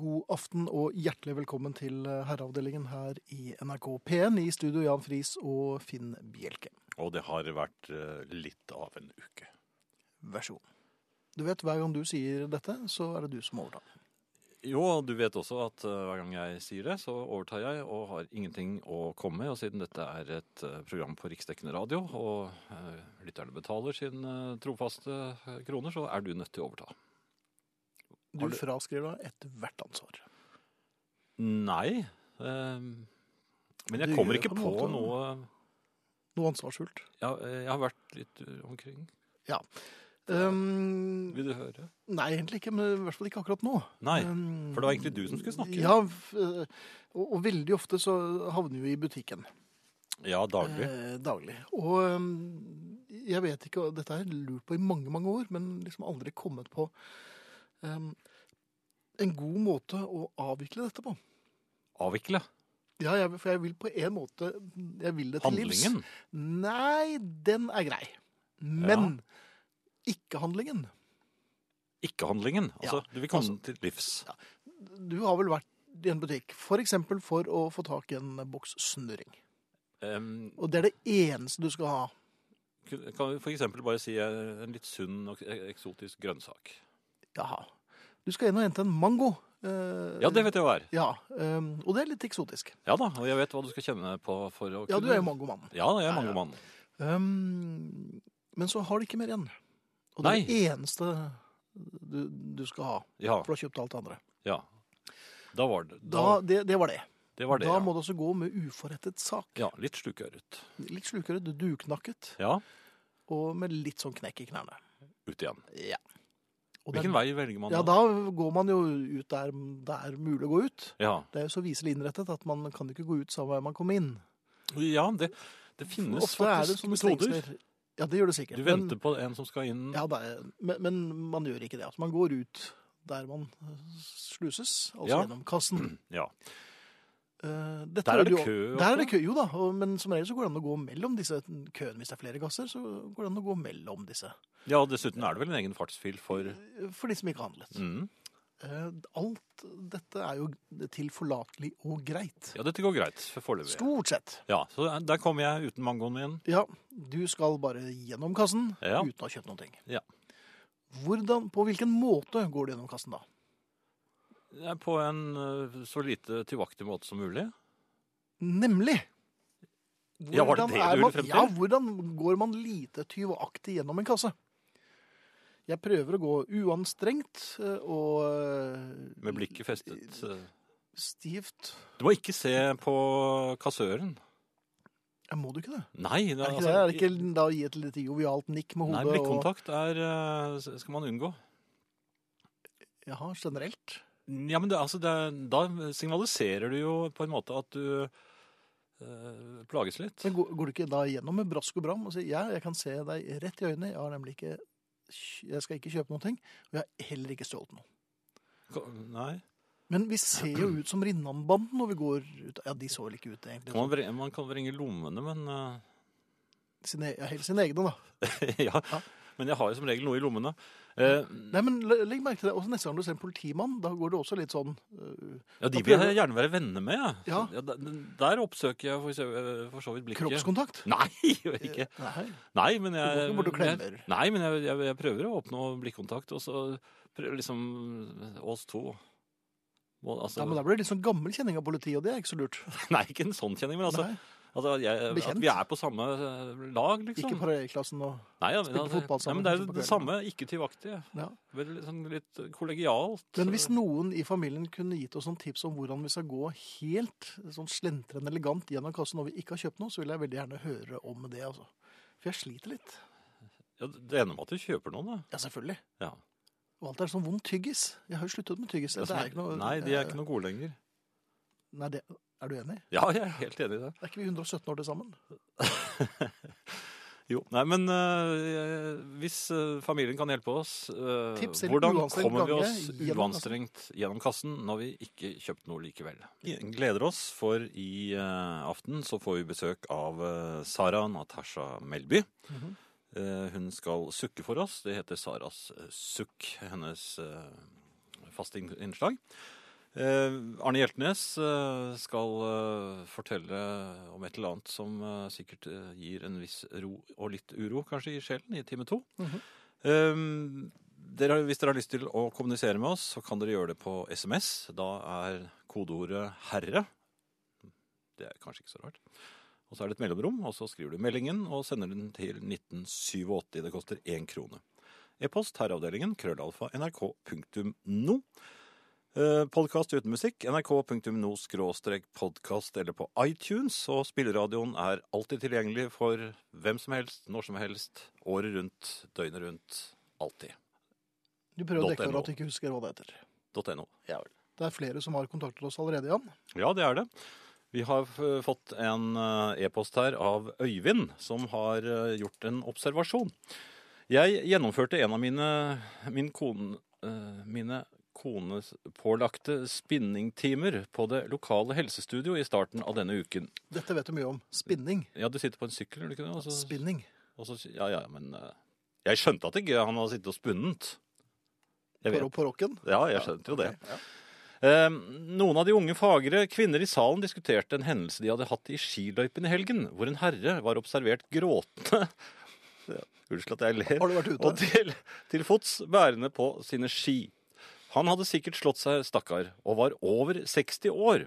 God aften og hjertelig velkommen til eh, Herreavdelingen her i NRK P1. I studio Jan Friis og Finn Bjelke. Og det har vært eh, litt av en uke. Vær så god. Du vet, hver gang du sier dette, så er det du som overtar. Jo, og du vet også at eh, hver gang jeg sier det, så overtar jeg og har ingenting å komme med. Og siden dette er et eh, program på riksdekkende radio, og eh, lytterne betaler sin eh, trofaste eh, kroner, så er du nødt til å overta. Du Har du- fraskriver deg ethvert ansvar. Nei. eh, men Du jeg kommer gjør det ikke på en på måte. noe Noe ansvarsfullt. ja, eh, Jeg har vært litt eh, omkring. Um, Vil du høre? nei, egentlig ikke, men i hvert fall ikke akkurat nå. Nei. Um, for det var egentlig du som skulle snakke. Ja, f- eh, og, og veldig ofte så havner vi i butikken. Ja, daglig. Eh, daglig. Og ehm, jeg vet ikke, og dette har jeg lurt på i mange, mange år, men liksom aldri kommet på ehm, en god måte å avvikle dette på. Avvikle Ja, jeg, for jeg vil på en måte Jeg vil det til livs. handlingen. Nei, den er grei. Men ikke handlingen. Ikke handlingen. Altså, Ja, du vil komme altså- til livs. Du har vel vært i en butikk f.eks. for å få tak i en boks snurring. Um, Og det er det eneste du skal ha. Kan vi for eksempel bare si eh, en litt sunn og ek- eksotisk grønnsak? Jaha. Du skal inn og hente en mango. eh, Ja, det vet jeg hva er. Ja, ehm, og det er litt eksotisk. Ja da, og jeg vet hva du skal kjenne på for å Ja, du er jo mangomannen. Ja, jeg er Ja, ja. mangomann. Ehm, men så har de ikke mer igjen. Og det er Nei. det eneste du, du skal ha, Ja, for du har kjøpt alt det andre. ja. Da var det Da, det, det var det. det var det, da ja. må du også gå med uforrettet sak. ja. Litt slukøret. Litt slukere, du duknakket, Ja, og med litt sånn knekk i knærne. ut igjen. Ja. Og det er- Hvilken vei velger man Ja, da? da går man jo ut der det er mulig å gå ut. Ja, Det er jo så viselig innrettet at man kan ikke gå ut samme vei man kom inn. ja det, det finnes Ofte er det faktisk sånne metoder. stengsler. Ja, det gjør det sikkert. Du men- venter på en som skal inn. Ja, det er, men, men man gjør ikke det. Altså, man går ut der man eh, sluses, altså Ja. gjennom kassen. Ja. Eh, dette Der er gjør det jo- kø Der er ofte. det kø, jo da. Og, men som regel så går det an å gå mellom disse køene. Hvis det er flere gasser, så går det an å gå mellom disse. ja, og dessuten er det vel en egen fartsfil for eh, For de som ikke har handlet. mm. Eh, alt dette er jo tilforlatelig og greit. Ja, dette går greit foreløpig. Stort sett. Ja, så der kommer jeg uten mangoen min. Ja, du skal bare gjennom kassen Ja. uten å ha kjøpt noen ting. Ja. Hvordan, på hvilken måte går du gjennom kassen da? Ja, På en ø, så lite tilvaktig måte som mulig. Nemlig. Ja, var Hvordan det det du er ville man- frem til? Ja, hvordan går man lite tyvaktig gjennom en kasse? Jeg prøver å gå uanstrengt eh, og eh, Med blikket festet. ø. stivt. Du må ikke se på kassøren. Ja, må du ikke det? Nei. Er det ikke, altså, det? Er det ikke da å gi et litt jovialt nikk med Nei, hodet? og, blikkontakt er, ø, s- skal man unngå. jaha, generelt? Ja, men det, altså, det, er- Da signaliserer du jo på en måte at du ø, plages litt. Men går, går du ikke da gjennom med brask og bram og sier ja, jeg kan se deg rett i øynene, jeg har nemlig ikke kj- jeg skal ikke kjøpe noen ting, og jeg har heller ikke stjålet noe. Ko- Nei. Men vi ser jo ut som Rinnanbanden når vi går ut. Ja, de så vel ikke ut egentlig. Kan man, vre, man kan vrenge lommene, men ø, Sine, e- ja, helt sine egne da. ja. Ja. Men jeg har jo som regel noe i lommene. Eh, Nei, men le- legg merke til det. Også neste gang du ser en politimann, da går det også litt sånn øh, ja, De Da vil prøver- jeg gjerne være venner med. jeg. Ja. Ja, der, der oppsøker jeg for, så- for så vidt blikket. kroppskontakt. Eh, Nei, gjør jeg ikke. Nei. Nei, men jeg, går ikke bort og klemmer. Jeg, nei, men jeg, jeg, jeg prøver å oppnå blikkontakt, og så prøver liksom oss to. Må, altså, Ja, men da blir det litt sånn gammel kjenning av politiet, og det er ikke så lurt. Nei, ikke en sånn kjenning, men altså, Nei, altså jeg, Bekjent. at vi er på samme eh, lag, liksom. ikke parallellklassen og nei, ja, men, spille fotball nei, sammen, men det er liksom, jo på det samme, ikke tilvaktige. ja. Veldig litt sånn litt kollegialt. Men hvis noen i familien kunne gitt oss noen tips om hvordan vi skal gå helt sånn slentrende elegant gjennom kassen når vi ikke har kjøpt noe, så vil jeg veldig gjerne høre om det, altså. For jeg sliter litt. Ja, det ender med at du kjøper noen, da. Ja, selvfølgelig. Ja. Og alt er sånn vond tyggis. Jeg har jo sluttet med tyggis. Det er ikke noe Altså, Eh, Nei, de er ikke noe gode lenger. Nei, det Er du enig? Ja, jeg er helt enig i det. Er ikke vi 117 år til sammen? Jo, nei, men eh, hvis eh, familien kan hjelpe oss, eh, Tips eller hvordan uanstrengt kommer vi gange oss gjennom kassen? uanstrengt gjennom kassen når vi ikke kjøpte noe likevel? Vi gleder oss, for i eh, aften så får vi besøk av eh, Sara Natasha Melby. Mhm. Eh, hun skal sukke for oss. Det heter Saras eh, sukk, hennes eh, faste inn- innslag. Eh, Arne Hjeltnes eh, skal eh, fortelle om et eller annet som eh, sikkert eh, gir en viss ro og litt uro, kanskje, i sjelen i time to. Mhm. Eh, dere, har- hvis dere har lyst til å kommunisere med oss, så kan dere gjøre det på SMS. Da er kodeordet 'herre'. Det er kanskje ikke så rart. Og så er det et mellomrom, og så skriver du meldingen og sender den til 1987. Det koster én krone. E-post herreavdelingen krøllalfa nrk.no. Podkast Eh, uten musikk nrk.no skråstrek podkast eller på iTunes. Og spilleradioen er alltid tilgjengelig for hvem som helst, når som helst, året rundt, døgnet rundt. Alltid. Du prøver å .no. dekke for at du ikke husker hva det heter. .no. Det er flere som har kontaktet oss allerede, Jan. Ja, det er det. Vi har eh, fått en eh, e-post her av Øyvind, som har eh, gjort en observasjon. Jeg gjennomførte en av mine, min kone, eh, mine kones pålagte spinningtimer på det lokale helsestudio i starten av denne uken. Dette vet du mye om. Spinning. Ja, du sitter på en sykkel, gjør du ikke det? Og så- Spinning. og så, ja, ja, men eh, jeg skjønte at ikke han hadde sittet og spunnet. Jeg På, vet. på rocken. Ja, jeg skjønte jo det. Ja. Eh, Noen av de unge fagre kvinner i salen diskuterte en hendelse de hadde hatt i skiløypen i helgen, hvor en herre var observert gråtende Ja, Unnskyld at jeg ler. Har du vært Og ute? til, til fots bærende på sine ski. Han hadde sikkert slått seg, stakkar, og var over 60 år.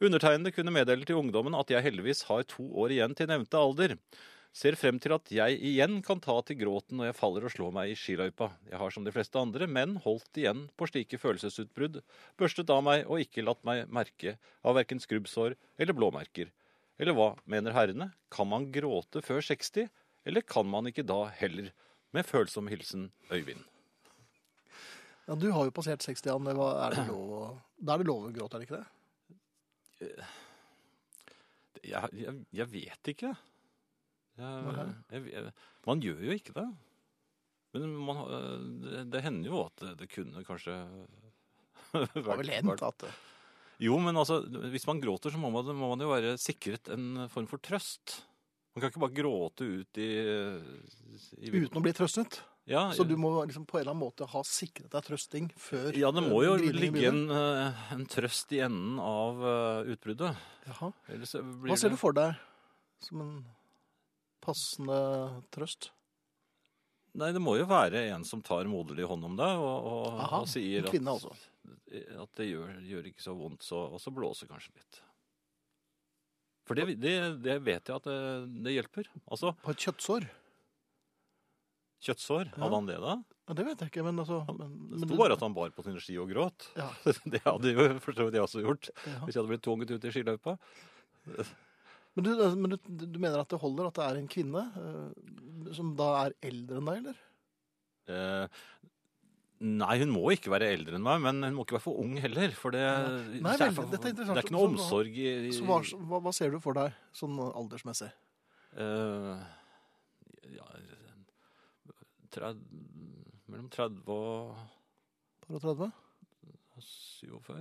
Undertegnede kunne meddele til ungdommen at jeg heldigvis har to år igjen til nevnte alder. Ser frem til at jeg igjen kan ta til gråten når jeg faller og slår meg i skiløypa. Jeg har som de fleste andre menn holdt igjen på slike følelsesutbrudd, børstet av meg og ikke latt meg merke av verken skrubbsår eller blåmerker. Eller hva mener herrene? Kan man gråte før 60, eller kan man ikke da heller? Med følsom hilsen Øyvind. Ja, du har jo passert 60, Jan. Hva er det lov å Da er det lov å gråte, er det ikke det? Jeg, jeg, jeg vet ikke. Jeg, Hvorfor? jeg, jeg, man gjør jo ikke det. Men man, har- det, det hender jo at det, det kunne kanskje Det har vel hendt at Jo, men altså, hvis man gråter, så må man, må man jo være sikret en form for trøst. Man kan ikke bare gråte ut i, i Uten å bli trøstet. ja, Så du må liksom på en eller annen måte ha sikret deg trøsting før ja, det må jo eh, griningen ligge begynner. en, eh, en trøst i enden av eh, utbruddet. Jaha. Ellers så blir Hva ser det- du for deg som en passende trøst? Nei, det må jo være en som tar moderlig hånd om deg og, og, Aha, og sier en at, kvinne altså. at det gjør, gjør ikke så vondt, så, og så blåser kanskje litt. For det, det, det vet jeg at det, det hjelper. Altså, På et kjøttsår? kjøttsår, Ja. hadde han det da? Ja, det vet jeg ikke, men altså men, Det sto bare at han bar på sine ski og gråt. Ja. Det hadde jo for så vidt jeg også gjort, ja. hvis jeg hadde blitt tvunget ut i skiløypa. Men, du, altså, men du, du mener at det holder at det er en kvinne eh, som da er eldre enn deg, eller? Eh, nei, hun må ikke være eldre enn meg, men hun må ikke være for ung heller. For det, Nei, det, veldig, er, for- dette er det interessant. er ikke noe Så- så- omsorg i, i Så hva, hva, hva ser du for deg sånn aldersmessig? Eh, ja, tred, mellom 30 og Par og 30? og 47?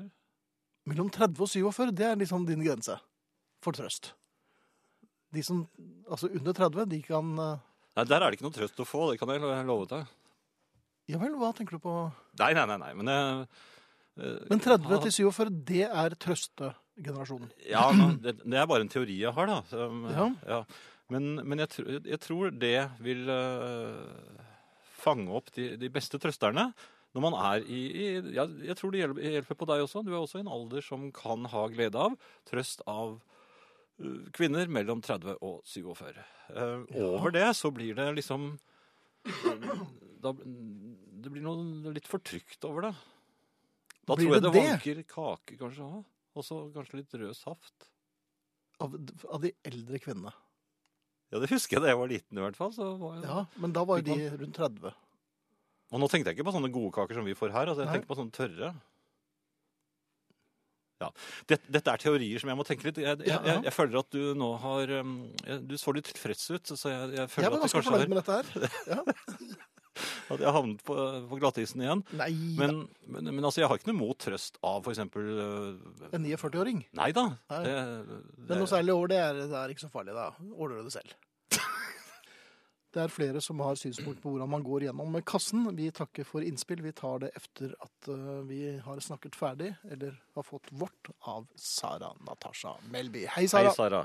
Mellom 30 og 47, det er liksom din grense for trøst. De som altså under 30, de kan eh, Nei, der er det ikke noe trøst å få, det kan jeg lo- love deg. Ja vel, hva tenker du på? Nei, nei, nei, nei men jeg, eh, Men 30 til 47, det er trøstegenerasjonen. Ja, men det, det er bare en teori jeg har, da. som- Ja. Men, men jeg, tr- jeg tror det vil eh, fange opp de, de beste trøsterne. Når man er i, i ja, Jeg tror det hjelper, hjelper på deg også. Du er også i en alder som kan ha glede av trøst av eh, kvinner mellom 30 og 47. Eh, Over det så blir det liksom eh, da, Det blir noe litt fortrykt over det. Da Blir tror det jeg det, det? vanker kake, kanskje. også. Og så kanskje litt rød saft. Av, av de eldre kvinnene. Ja, det husker jeg da jeg var liten i hvert fall. Så var jeg... Ja, men da var jo de rundt 30. Og nå tenkte jeg ikke på sånne gode kaker som vi får her, altså jeg Nei. tenker på sånne tørre. Ja, Dette, dette er teorier som jeg må tenke litt. Jeg, jeg, Ja, ja. jeg, jeg føler at du nå har um, jeg- Du så litt tilfreds ut, så jeg, jeg Jeg føler var at, du ganske kanskje fornøyd har, med dette her. at jeg har havnet på, på glattisen igjen. Nei, Men, men, men altså, jeg har ikke noe mot trøst av for eksempel øh, en 49-åring. Nei da. Nei. Det, Men noe det, særlig over det er, det er ikke så farlig, da. Ordner du det selv. Det er flere som har synspunkt på hvordan man går gjennom kassen. Vi takker for innspill. Vi tar det efter at eh, vi har snakket ferdig, eller har fått vårt, av Sara Natasha Melby. Hei, Sara. Hei, Sara.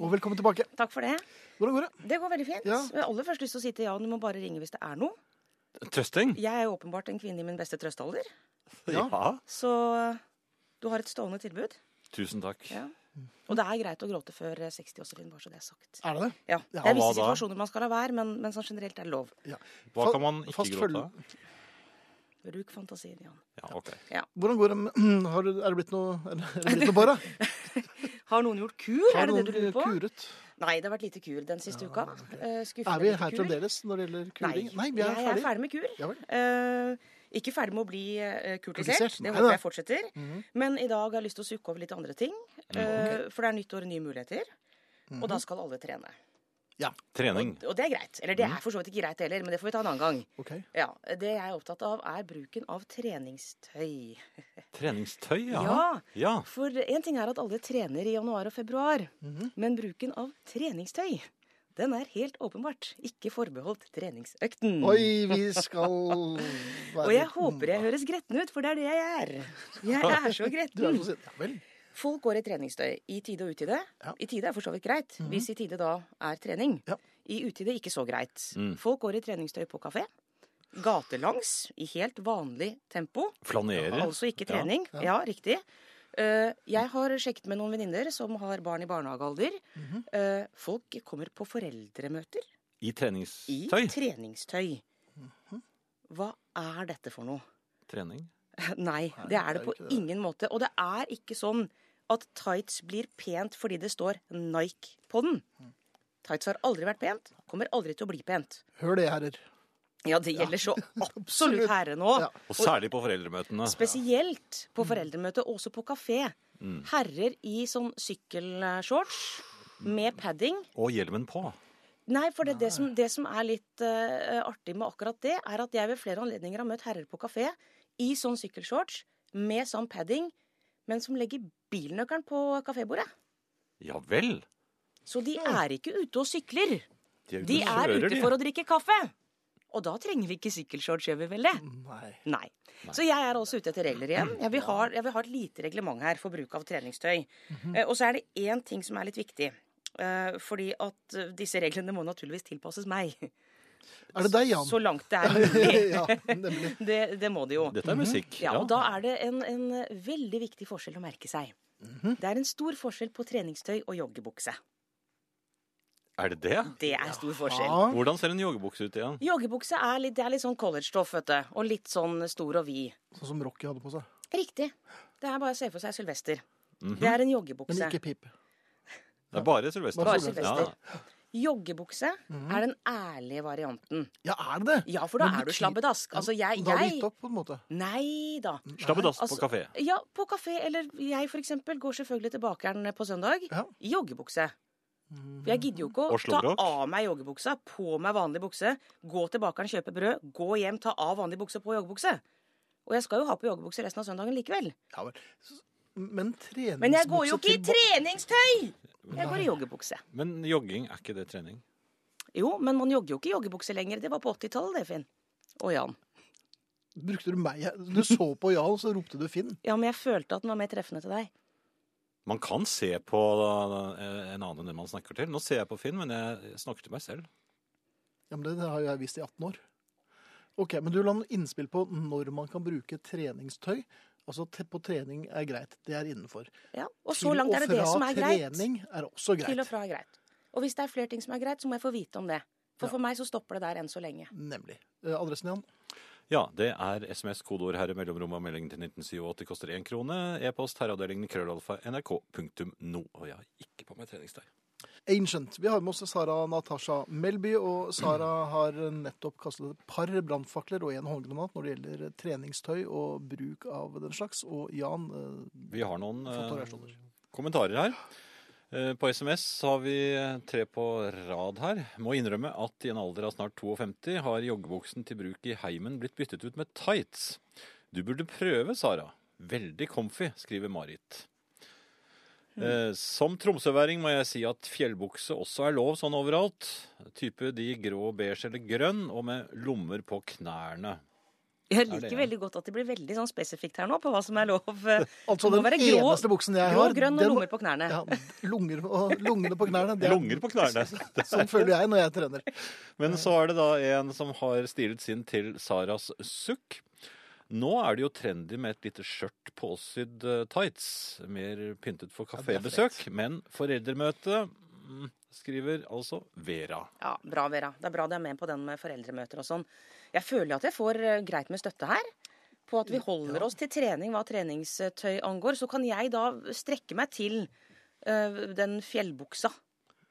Og velkommen tilbake. Takk for det. Hvordan går det? Det går veldig fint. Ja. Jeg har aller først lyst til å si til Jan, du må bare ringe hvis det er noe. Trøsting? Jeg er jo åpenbart en kvinne i min beste trøstealder, Ja. så du har et stående tilbud. Tusen takk. Ja. Og det er greit å gråte før eh, 60 også, Finn, bare så det er sagt. Er det det? Ja, Ja, Det er hva visse da? situasjoner man skal la være, men, men sånn generelt er det lov. Hva kan man ikke Fast gråte følge- av? Bruk fantasien, Jan. Ja, ok. Hvordan går det? med- Har, det- er det blitt noe, er det- er det blitt noe bare? Har noen gjort kur? Har er det det du noen lurer på? kuret? Nei, det har vært lite kur den siste Ja, uka. ok. Eh, Skuffende Er vi lite her kur. fremdeles når det gjelder kuring? Nei, vi er jeg er ferdig. ferdig med kur. Ja vel. Eh, ikke ferdig med å bli eh, kurtisert, Kurtisert? det Nei, håper nei. jeg fortsetter. Mhm. Men i dag har jeg lyst til å sukke over litt andre ting. Mm, eh, For det er nytt år og nye muligheter. Og Mhm. da skal alle trene. Trening. Og det er greit. Eller det Mhm. er for så vidt ikke greit heller, men det får vi ta en annen gang. Ok. Ja, Det jeg er opptatt av, er bruken av treningstøy. Treningstøy, ja. Ja. Ja. For én ting er at alle trener i januar og februar, Mhm. men bruken av treningstøy den er helt åpenbart ikke forbeholdt treningsøkten. Oi, vi skal være Mm. Og jeg håper jeg høres gretten ut, for det er det jeg er. Jeg er så Du er gretten. så sint. Ja vel. Folk går i treningstøy. I tide og utide. Ja. Mhm. I tide er for så vidt greit, hvis i tide da er trening. Ja. I utide ikke så greit. Mm. Folk går i treningstøy på kafé. Gatelangs i helt vanlig tempo. Flanerer. Altså ikke trening. Ja. Ja, riktig. Eh, jeg har sjekket med noen venninner som har barn i barnehagealder. Mhm. Eh, folk kommer på foreldremøter I i treningstøy. treningstøy. Mhm. Hva er dette for noe? Trening. Nei, Nei, det er det det er på ikke det. ingen måte. Og det er ikke sånn at tights blir pent fordi det står Nike på den. Tights har aldri vært pent, kommer aldri til å bli pent. Hør det, herrer. Ja, det gjelder så absolutt herre nå. Ja. Og særlig på foreldremøtene. Spesielt på foreldremøte, også på kafé. Herrer i sånn sykkelshorts med padding. Og hjelmen på. Nei, for det, det, som, det som er litt eh, artig med akkurat det, er at jeg ved flere anledninger har møtt herrer på kafé i sånn sykkelshorts med sånn padding, men som legger bilnøkkelen på kafébordet. Ja vel. Så de er ikke ute og sykler. De De og er kjører, ute de. for å drikke kaffe. Og da trenger vi ikke sykkelshorts, gjør vi vel det? Mm. Nei. Nei. Så jeg er altså ute etter regler igjen. Jeg vil, ha, jeg vil ha et lite reglement her for bruk av treningstøy. Eh, Og så er det én ting som er litt viktig. eh, Fordi at eh, disse reglene må naturligvis tilpasses meg. Er det deg, Jan? Så langt det er mulig. ja, nemlig. Det, det må det jo. Dette er musikk. Mhm. Ja, og da er det en, en veldig viktig forskjell å merke seg. Mhm. Det er en stor forskjell på treningstøy og joggebukse. Er det det? Det er stor forskjell. Ja. Hvordan ser en joggebukse ut igjen? Joggebukse er litt, det er litt sånn collegestoff, vet du. Og litt sånn stor og vid. Sånn som Rocky hadde på seg. Riktig. Det er bare å se for seg Sylvester. Det er en joggebukse. Mhm. Men ikke pip. Det er bare Sylvester. Bare Ja. Sylvester. Joggebukse er den ærlige varianten. Ja, er det det? Ja, for da Mhm. Men er du betyr- slabbedask. Altså, jeg, Da har du jeg gitt opp, på en måte. Nei da. Slabbedass på Altså- kafé. Ja, på kafé, eller jeg for eksempel, går selvfølgelig til bakeren på søndag Ja. Mhm. i joggebukse. For jeg gidder jo ikke å Og ta slåbrok. av meg joggebuksa, på meg vanlig bukse, gå til bakeren, kjøpe brød, gå hjem, ta av vanlig bukse, på joggebukse. Og jeg skal jo ha på joggebukse resten av søndagen likevel. Ja, vel. S- Men treningsbukse Men jeg går jo ikke i til ba- treningstøy! Jeg går i joggebukse. Men jogging, er ikke det trening? Jo, men man jogger jo ikke i joggebukse lenger. Det var på 80-tallet, det, Finn. Og Jan. Brukte du meg? Du så på Jarl, så ropte du Finn. Ja, men jeg følte at den var mer treffende til deg. Man kan se på eh, en annen enn den man snakker til. Nå ser jeg på Finn, men jeg snakker til meg selv. Ja, men Det har jo jeg visst i 18 år. Ok, Men du la noen innspill på når man kan bruke treningstøy. Altså te- på trening er greit, det er innenfor. Ja, Og så langt er det det som er Til og fra greit. trening er også Til og greit. fra er greit. Og hvis det er flere ting som er greit, så må jeg få vite om det. For for meg så stopper det der enn så lenge. Nemlig. Eh, Adressen, Jan? Ja, det er SMS, kodeord herre, mellomrom og melding til 1987 koster én krone. E-post herreavdelingen krøllalfa nrk.no. Og jeg har ikke på meg treningstøy. Ancient. Vi har med oss Sara Natasha Melby, og Sara har nettopp kastet et par brannfakler og en håndgranat når det gjelder treningstøy og bruk av den slags. Og Jan eh, Vi har noen eh, Fotoreaksjoner. kommentarer her. Eh, På SMS så har vi eh, tre på rad her. Må innrømme at i en alder av snart 52 har joggebuksen til bruk i heimen blitt byttet ut med tights. Du burde prøve, Sara. Veldig comfy, skriver Marit. Eh, som tromsøværing må jeg si at fjellbukse også er lov sånn overalt. Type de grå, beige eller grønn, og med lommer på knærne. Jeg det, liker ja. veldig godt at det blir veldig sånn spesifikt her nå på hva som er lov. eh, Altså Det må den være grå- eneste buksen jeg Grå, har. grønn og den- lommer på knærne. Ja, lunger og lungene på knærne. det er- Lunger på knærne. Sånn føler jeg når jeg trener. Men så er det da en som har stilet sin til Saras sukk. Nå er det jo trendy med et lite skjørt påsydd eh, tights. Mer pyntet for det er kafébesøk. men foreldremøte mm, skriver altså Vera. Ja, Bra, Vera. Det er bra du er med på den med foreldremøter og sånn. Jeg føler at jeg får eh, greit med støtte her. På at vi holder oss til trening hva treningstøy angår. Så kan jeg da strekke meg til eh, den fjellbuksa.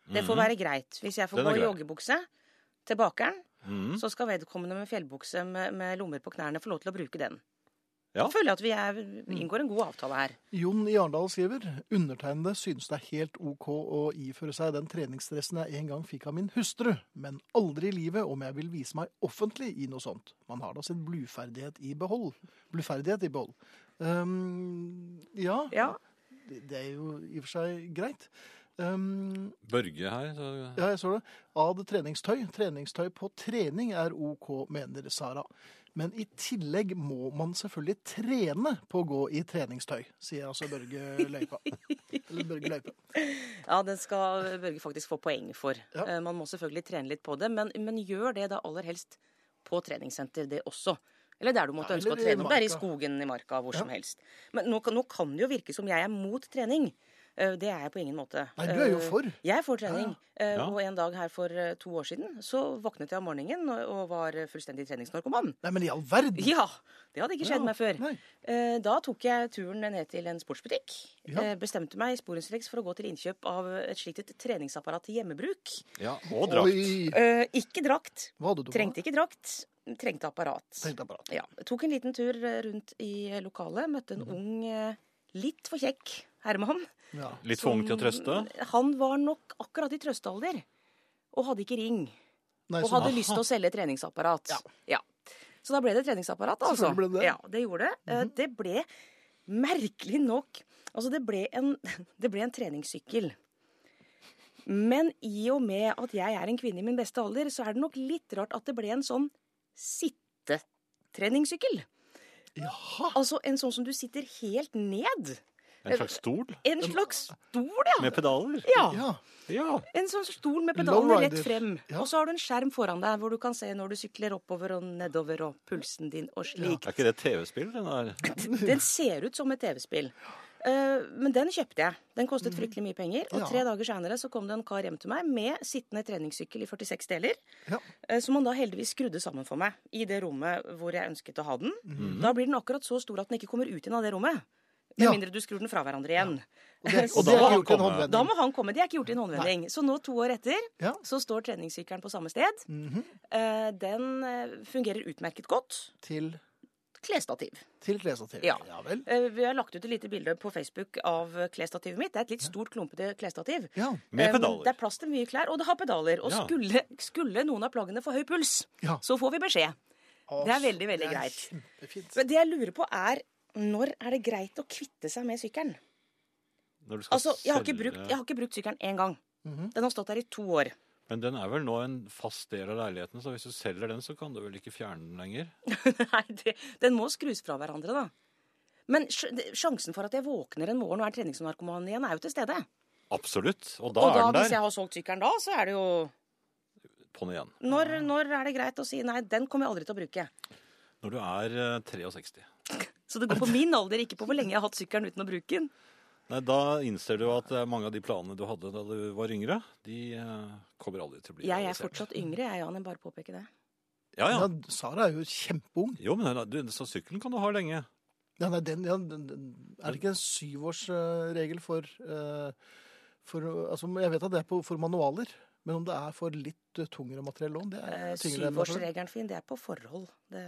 Det får være greit. Hvis jeg får Mhm. Den er gå i grei. joggebukse til bakeren, Mm. Mhm. så skal vedkommende med fjellbukse med, med lommer på knærne få lov til å bruke den. Ja. Da føler jeg at vi er, inngår en god avtale her. Jon i Arendal skriver undertegnede synes det er helt OK å iføre seg den treningsdressen jeg en gang fikk av min hustru, men aldri i livet om jeg vil vise meg offentlig i noe sånt. Man har da sin bluferdighet i behold. Bluferdighet i behold. Um, ja, Ja, det det er jo i og for seg greit. Um, Børge her. Så... Ja, jeg så det. Ad treningstøy. Treningstøy på trening er OK, mener Sara. Men i tillegg må man selvfølgelig trene på å gå i treningstøy, sier altså Børge Løypa. Eller Børge Løype. ja det skal Børge faktisk få poeng for. Ja. Eh, Man må selvfølgelig trene litt på det, men, men gjør det da aller helst på treningssenter, det også. Eller der du måtte Ja, ønske å eller i trene. Om det er i marka. skogen, i marka, hvor Ja. som helst. Men nå, kan- nå kan det jo virke som jeg er mot trening. Eh, Det er jeg på ingen måte. Nei, du er jo Eh, for. Jeg får trening. Eh, Ja. Og en dag her for eh, to år siden så våknet jeg om morgenen og- og var eh, fullstendig treningsnarkoman. Nei, men i all verden! Ja! Det hadde ikke skjedd meg før. Nei. Eh, Da tok jeg turen ned til en sportsbutikk. Ja. Eh, Bestemte meg sporenstreks for å gå til innkjøp av et slikt et treningsapparat til hjemmebruk. Ja, og drakt. Oi! Eh, Ikke drakt. Hva hadde du på? Trengte ikke drakt. Trengte apparat. Trengte apparat. Ja. Tok en liten tur eh, rundt i eh, lokalet. Møtte en Mhm. ung, eh, litt for kjekk herremann. Ja. Litt for ung til å trøste. Som- Han var nok akkurat i trøstealder. Og hadde ikke ring. Nei, sånn, Og så- hadde lyst til å selge treningsapparat. Ja. Så da ble det treningsapparat, altså. Selvfølgelig ble det Mhm. det. Ja, det gjorde det. Eh, Det ble merkelig nok Altså, det ble, en, det ble en treningssykkel. Men i og med at jeg er en kvinne i min beste alder, så er det nok litt rart at det ble en sånn sittetreningssykkel. Jaha! Altså en sånn som du sitter helt ned. En slags stol En slags stol, ja. med pedaler. ja. Ja. Ja. En sånn stol med pedalene rett Lowrider. frem. Ja. Og så har du en skjerm foran deg hvor du kan se når du sykler oppover og nedover og pulsen din og slik. Er ikke det TV-spill, den Eh, der? Den ser ut som et TV-spill. Eh, men den kjøpte jeg. Den kostet fryktelig mye penger. Og Mm. Ja. tre dager seinere så kom det en kar hjem til meg med sittende treningssykkel i 46 deler. Ja. eh, Som han da heldigvis skrudde sammen for meg i det rommet hvor jeg ønsket å ha den. Da blir den akkurat så stor at den ikke kommer ut igjen av det rommet. Med Mm. Ja. mindre du skrur den fra hverandre igjen. Og det, Så og det da må er gjort han en komme. håndvending. da må han komme. Det er ikke gjort i en håndvending. Så nå, to år etter, Ja. så står treningssykkelen på samme sted. Mhm. Eh, Den eh, fungerer utmerket godt. Til, Klesstativ. til klesstativ. Ja. ja vel. Eh, Vi har lagt ut et lite bilde på Facebook av eh, klesstativet mitt. Det er et litt stort, klumpete klesstativ. Ja. Med Eh, Det pedaler. er plass til mye klær, og det har pedaler. Og Ja. skulle, skulle noen av plaggene få høy puls, Ja. så får vi beskjed. Det er veldig, veldig Det er greit. Kjempefint. Men det jeg lurer på er når er det greit å kvitte seg med sykkelen? Når du skal Altså, Jeg har ikke selge- brukt, jeg har ikke brukt sykkelen én gang. Mhm. Den har stått der i to år. Men den er vel nå en fast del av leiligheten, så hvis du selger den, så kan du vel ikke fjerne den lenger? Nei, det, den må skrus fra hverandre, da. Men sj- det- sjansen for at jeg våkner en morgen og er treningsnarkoman igjen, er jo til stede. Absolutt. Og da, og da, er den hvis der. jeg har solgt sykkelen da, så er det jo På'n igjen. når, når er det greit å si nei, den kommer jeg aldri til å bruke. Når du er eh, 63. Så det går på min alder, ikke på hvor lenge jeg har hatt sykkelen uten å bruke den. Nei, da innser du at eh, mange av de planene du hadde da du var yngre, de eh, kommer aldri til å bli Jeg er realisert. fortsatt yngre, jeg, Jan. Jeg bare påpeker det. Ja, Ja, ja. Sara er jo kjempeung. Jo, men den- du, så sykkelen kan du ha lenge. Ja, nei, den, ja, den, den, er det ikke en syvårsregel for, eh, for eh, altså, Jeg vet at det er på, for manualer, men om det er for litt eh, tungere materiell òg, det Eh, er tyngre enn materiell. Syvårsregelen fin, det er på forhold. Det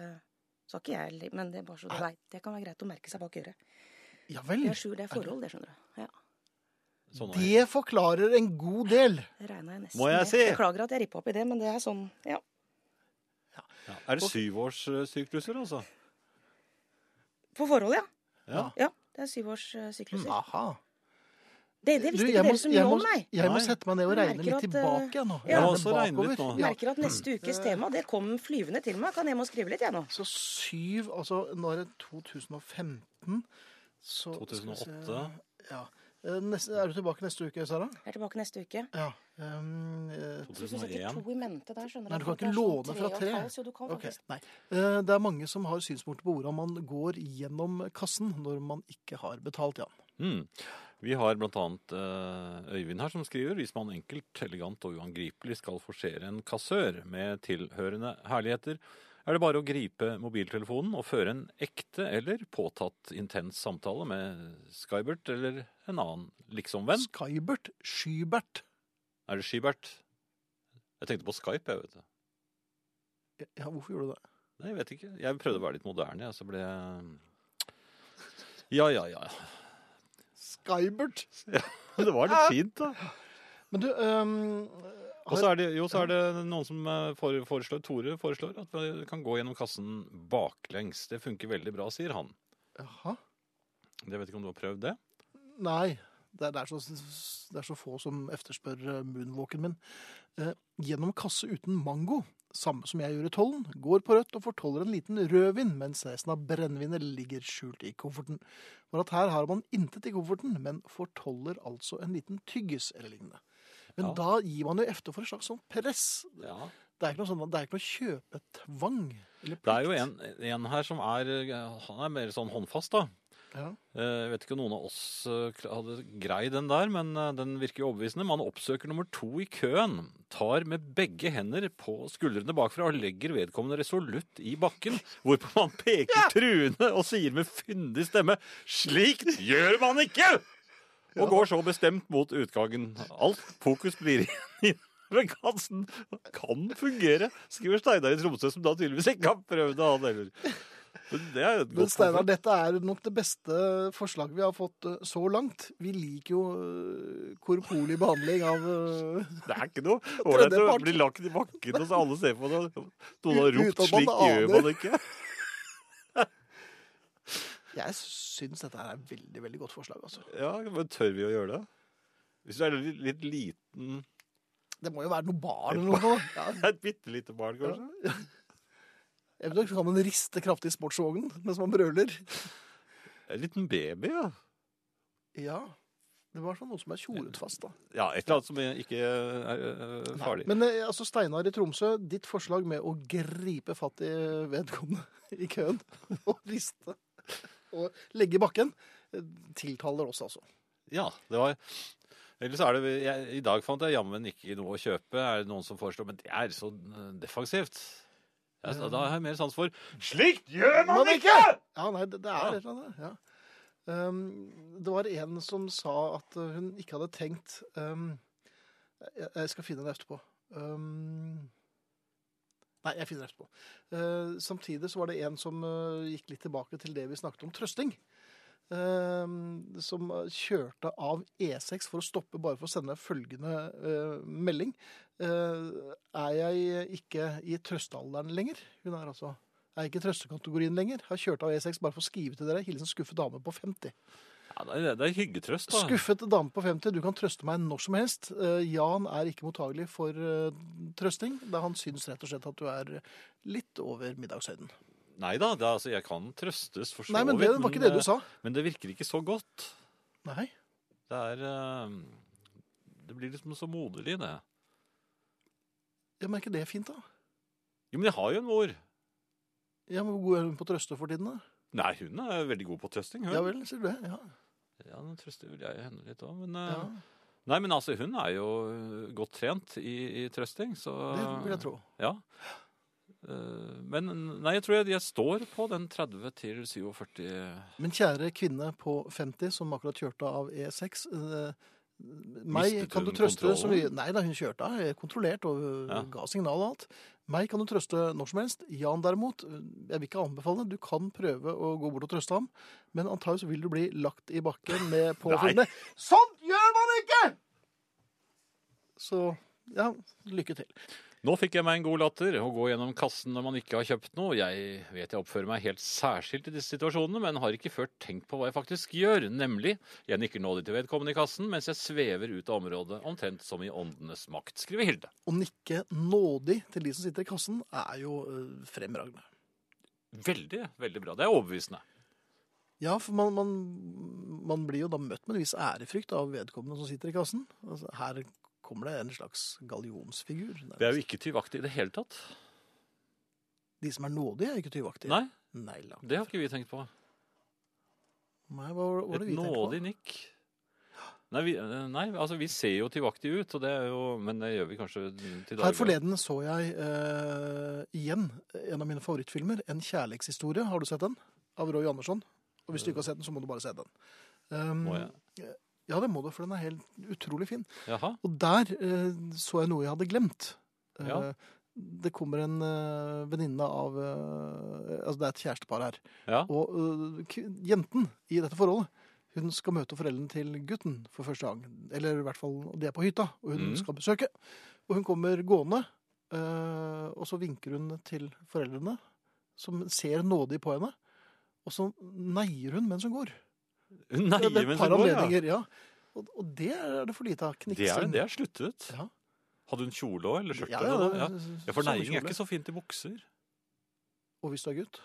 sa ikke jeg, eller- men det er bare så du vet. Det kan være greit å merke seg bak øret. Ja vel. Det er sju, det er forhold, det skjønner du. Ja, Sånn er Det forklarer en god del. det regna jeg nesten Må jeg med. si? Beklager at jeg rippa opp i det, men det er sånn, ja. Ja. Er det syvårssykluser, altså? På forhold, ja. Ja. Mm. Ja, det er syvårssykluser. Aha. eh, Det, det visste Du, ikke jeg må- dere så jeg mye må- om, nei. Jeg må Nei. sette meg ned og Jeg regne merker litt at, eh, tilbake jeg, nå. Jeg må Regne også regne litt bakover. nå. Ja. Merker at neste ukes tema det kom flyvende til meg. Kan jeg må skrive litt, jeg nå. Så syv Altså, nå er det 2015. Så skal vi se. 2008. Ja. Eh, Neste, er du tilbake neste uke, Sara? Jeg er tilbake neste uke. Ja. Um, eh, Så du setter 2001. to i mente der, skjønner Nei, du kan for ikke det er sånn låne fra og et tre. halvt, Jo, du kan ok, faktisk. nei. Eh, Det er mange som har synspunkter på hvordan man går gjennom kassen når man ikke har betalt, Jan. Mm. Vi har bl.a. Øyvind her som skriver hvis man enkelt, elegant og uangripelig skal forsere en kassør med tilhørende herligheter, er det bare å gripe mobiltelefonen og føre en ekte eller påtatt intens samtale med Skybert eller en annen liksomvenn. Skybert Skybert. Er det Skybert? Jeg tenkte på Skype, jeg, vet du. Ja, hvorfor gjorde du det? Nei, jeg vet ikke. Jeg prøvde å være litt moderne, jeg, så ble jeg Ja, ja, ja. Skybert. Det var litt fint, da. Men du ehm, Og så er det, jo, så er det noen som eh, fore- foreslår, Tore foreslår, at vi kan gå gjennom kassen baklengs. Det funker veldig bra, sier han. Jaha. Jeg vet ikke om du har prøvd det? Nei. Det er, det, er så, det er så få som efterspør eh, moonwalken min. Eh, gjennom kasse uten mango, samme som jeg gjør i tollen, går på rødt og fortoller en liten rødvin, mens resten av brennevinet ligger skjult i kofferten. For at her har man intet i kofferten, men fortoller altså en liten tyggis eller lignende. Men Ja. da gir man jo efter for et slags sånn press. Ja. Det er ikke noe, sånn, det er ikke noe kjøpetvang. Eller Det er jo en, en her som er eh, Han er mer sånn håndfast, da. Ja. Eh, Jeg vet ikke om noen av oss eh, kla- hadde greid den der, men eh, den virker jo overbevisende. Man oppsøker nummer to i køen, tar med begge hender på skuldrene bakfra og legger vedkommende resolutt i bakken, hvorpå man peker truende og sier med fyndig stemme 'Slikt gjør man ikke!' Og går så bestemt mot utgangen. Alt fokus blir igjen ved kassen. Kan fungere, skriver Steinar i Tromsø, som da tydeligvis ikke har prøvd det, han heller. Men det er jo et Men godt Steinar, dette er nok det beste forslaget vi har fått eh, så langt. Vi liker jo eh, korporlig behandling av eh, Det er ikke noe ålreit å Tredjepart. bli lagt i bakken, og så alle ser på det. og Noen har Ut- uten at ropt man 'slik gjør aner. man ikke'. Jeg syns dette her er et veldig, veldig godt forslag, altså. Ja, men Tør vi å gjøre det? Hvis du er litt, litt liten Det må jo være noe barn eller noe. da. Ja. Et bitte lite barn, kanskje? Eventuelt kan man riste kraftig i sportsvognen mens man brøler. En liten baby, ja. Ja. Det var sånn noe som er tjoret fast, da. Ja, Et eller annet som ikke er øh, farlig. Men eh, altså, Steinar i Tromsø, ditt forslag med å gripe fatt i vedkommende i køen og riste og legge i bakken, eh, tiltaler oss, altså. Ja, det var... Ellers er det, jeg, I dag fant jeg jammen ikke noe å kjøpe, er det noen som foreslår. Men det er så øh, defensivt. Ja, så da har jeg mer sans for 'Slikt gjør man ikke!' Ja, nei, det, det er Ja. et eller annet. Ja. Ehm, det var en som sa at uh, hun ikke hadde tenkt ehm, jeg, jeg skal finne den etterpå. Ehm, nei, jeg finner den etterpå. Eh, samtidig så var det en som eh, gikk litt tilbake til det vi snakket om, trøsting. Ehm, som eh, kjørte av E6 for å stoppe bare for å sende følgende eh, melding. Eh, er jeg ikke i trøstealderen lenger? Hun er altså er ikke i trøstekategorien lenger. Har kjørt av E6 bare for å skrive til dere. Hilsen skuffet dame på 50. Ja, det er, det er hyggetrøst, da. Skuffet dame på 50, du kan trøste meg når som helst. Eh, Jan er ikke mottagelig for eh, trøsting, da han syns rett og slett at du er litt over middagshøyden. Nei da, det, er- altså, jeg kan trøstes for så Nei, men det var ikke det du sa. Men det virker ikke så godt. Nei. Det er eh, Det blir liksom så moderlig, det. Ja, men er ikke det fint, da? Jo, men jeg har jo en mor. Ja, men Hvor god er hun på å trøste for tiden, da? Nei, hun er veldig god på trøsting, hun. Ja vel, sier du det? Ja. Ja, nå trøster vel jeg henne litt òg, men eh, ja. Nei, men altså, hun er jo eh, godt trent i, i trøsting, så Det vil jeg tro. Ja. Eh, Men nei, jeg tror jeg, jeg står på den 30 til 47 Min kjære kvinne på 50 som akkurat kjørte av E6. eh, Meg Mistet kan du hun trøste så mye kontrollen? Nei da, hun kjørte av. eh, Kontrollert og eh, Ja. ga signal og alt. Meg kan du trøste når som helst. Jan derimot, eh, jeg vil ikke anbefale. Du kan prøve å gå bort og trøste ham, men antageligvis vil du bli lagt i bakken med påfølgende Sånt gjør man ikke! Så ja, lykke til. Nå fikk jeg meg en god latter. Å gå gjennom kassen når man ikke har kjøpt noe. Jeg vet jeg oppfører meg helt særskilt i disse situasjonene, men har ikke før tenkt på hva jeg faktisk gjør. Nemlig, jeg nikker nådig til vedkommende i kassen mens jeg svever ut av området, omtrent som i åndenes makt, skriver Hilde. Å nikke nådig til de som sitter i kassen, er jo eh, fremragende. Veldig, veldig bra. Det er overbevisende. Ja, for man, man, man blir jo da møtt med en viss ærefrykt av vedkommende som sitter i kassen. Altså, her kommer det en slags gallionsfigur. Det er jo ikke tyvaktig i det hele tatt. De som er nådige, er ikke tyvaktige. Nei, Nei, langt det har ikke vi tenkt på. Nei, hva var- hva var Et det vi nådig tenkte på? nikk. Nei, vi, eh, nei, altså vi ser jo tilbaktig ut, og det er jo, men det gjør vi kanskje til Her daglig. forleden så jeg eh, igjen en av mine favorittfilmer, En kjærlighetshistorie. Har du sett den? Av Roy Andersson. Og hvis du ikke har sett den, så må du bare se den. Um, Må jeg? Ja, det må du, for den er helt utrolig fin. Jaha, Og der eh, så jeg noe jeg hadde glemt. Eh, Ja. Det kommer en eh, venninne av eh, Altså, det er et kjærestepar her. ja. Og eh, k- jenten i dette forholdet, hun skal møte foreldrene til gutten for første gang. Eller i hvert fall, de er på hytta, og hun Mm. skal besøke. Og hun kommer gående, eh, og så vinker hun til foreldrene, som ser nådig på henne. Og så neier hun mens hun går. Nei, Det er et men så par går ja. anledninger, ja. Og, og det er det for lite av. Det er, Kniksing. det er sluttet. Ja. Hadde hun kjole òg, eller skjørt? Ja, eller noe? ja, ja. ja, for samme neiing er kjole. ikke så fint i bukser. Og hvis du er gutt?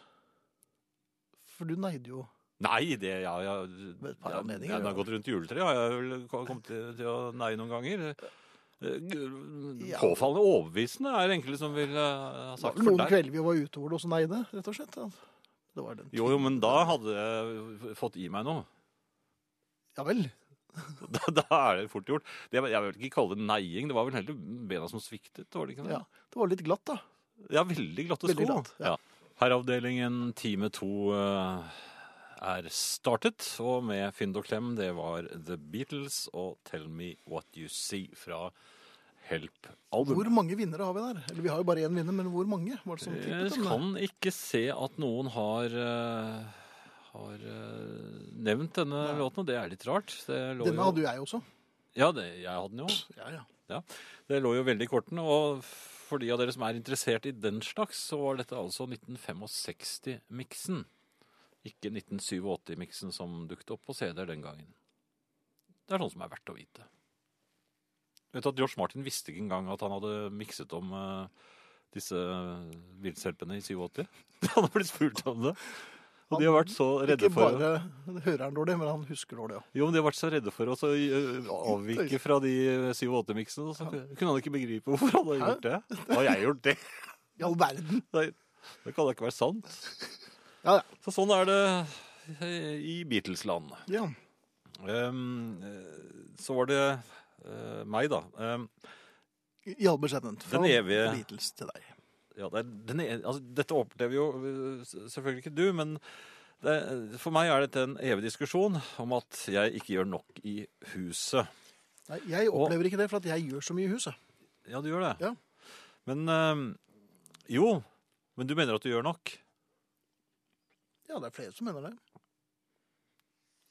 For du neide jo Nei, det ja, ja, Ved et par ja, anledninger, ja, den har ja. gått rundt juletreet. Ja, jeg har vel ko- kommet til, til å neie noen ganger. Eh, g- Ja. Påfallende overbevisende er det enkelte som vil eh, ha Det var sagt vel for noen deg. kvelder vi var ute hvor det også neide, rett og slett. ja. Det var den Jo, jo, men da hadde jeg fått i meg noe. Ja vel. Da, da er det fort gjort. Det, var- jeg vil ikke kalle det neiing. Det var vel heller bena som sviktet. var det ikke det? Ja. Det var litt glatt, da. Ja, veldig glatte Veldig sko. glatt, ja. ja. Herreavdelingen time to eh, er startet, og med Fynd og klem, det var The Beatles og Tell Me What You See fra Help-albumet. Hvor mange vinnere har vi der? Eller vi har jo bare én vinner, men hvor mange var det som Jeg tippet den? Eh, kan ikke se at noen har eh, har eh, nevnt denne Nei. låten, og det er litt rart. Det lå Denne jo- hadde jo jeg også. Ja, det, jeg hadde den jo. Ja, ja. Det lå jo veldig i kortene, og for de av dere som er interessert i den slags, så var dette altså 1965-miksen. Ikke 1987-miksen som dukket opp på CD-er den gangen. Det er sånn som er verdt å vite. Vet du at George Martin visste ikke engang at han hadde mikset om eh, disse villselpene i 87? Han har blitt spurt om det. Og de har vært så redde Ikke for bare hører han dårlig, men han husker dårlig òg. jo, men de har vært så redde for oss å eh, avvike fra de 7-8-miksene. Så kunne han ikke begripe hvorfor han hadde Hæ? gjort det. Har jeg gjort det? I all verden! Nei, det kan da ikke være sant. Ja, ja. Så sånn er det eh, i Beatles-land. ja. Ehm, eh, så var det eh, meg, da. Ehm, I all beskjedenhet. Fra Den evige- Beatles til deg. ja, det er, den er, altså, dette opplever jo øh, s- selvfølgelig ikke du, men det, for meg er dette en evig diskusjon om at jeg ikke gjør nok i huset. Nei, jeg opplever ikke det, for at jeg gjør så mye i huset. Ja, du gjør det. Ja. Men ehm, Jo, men du mener at du gjør nok? Ja, det er flere som mener det.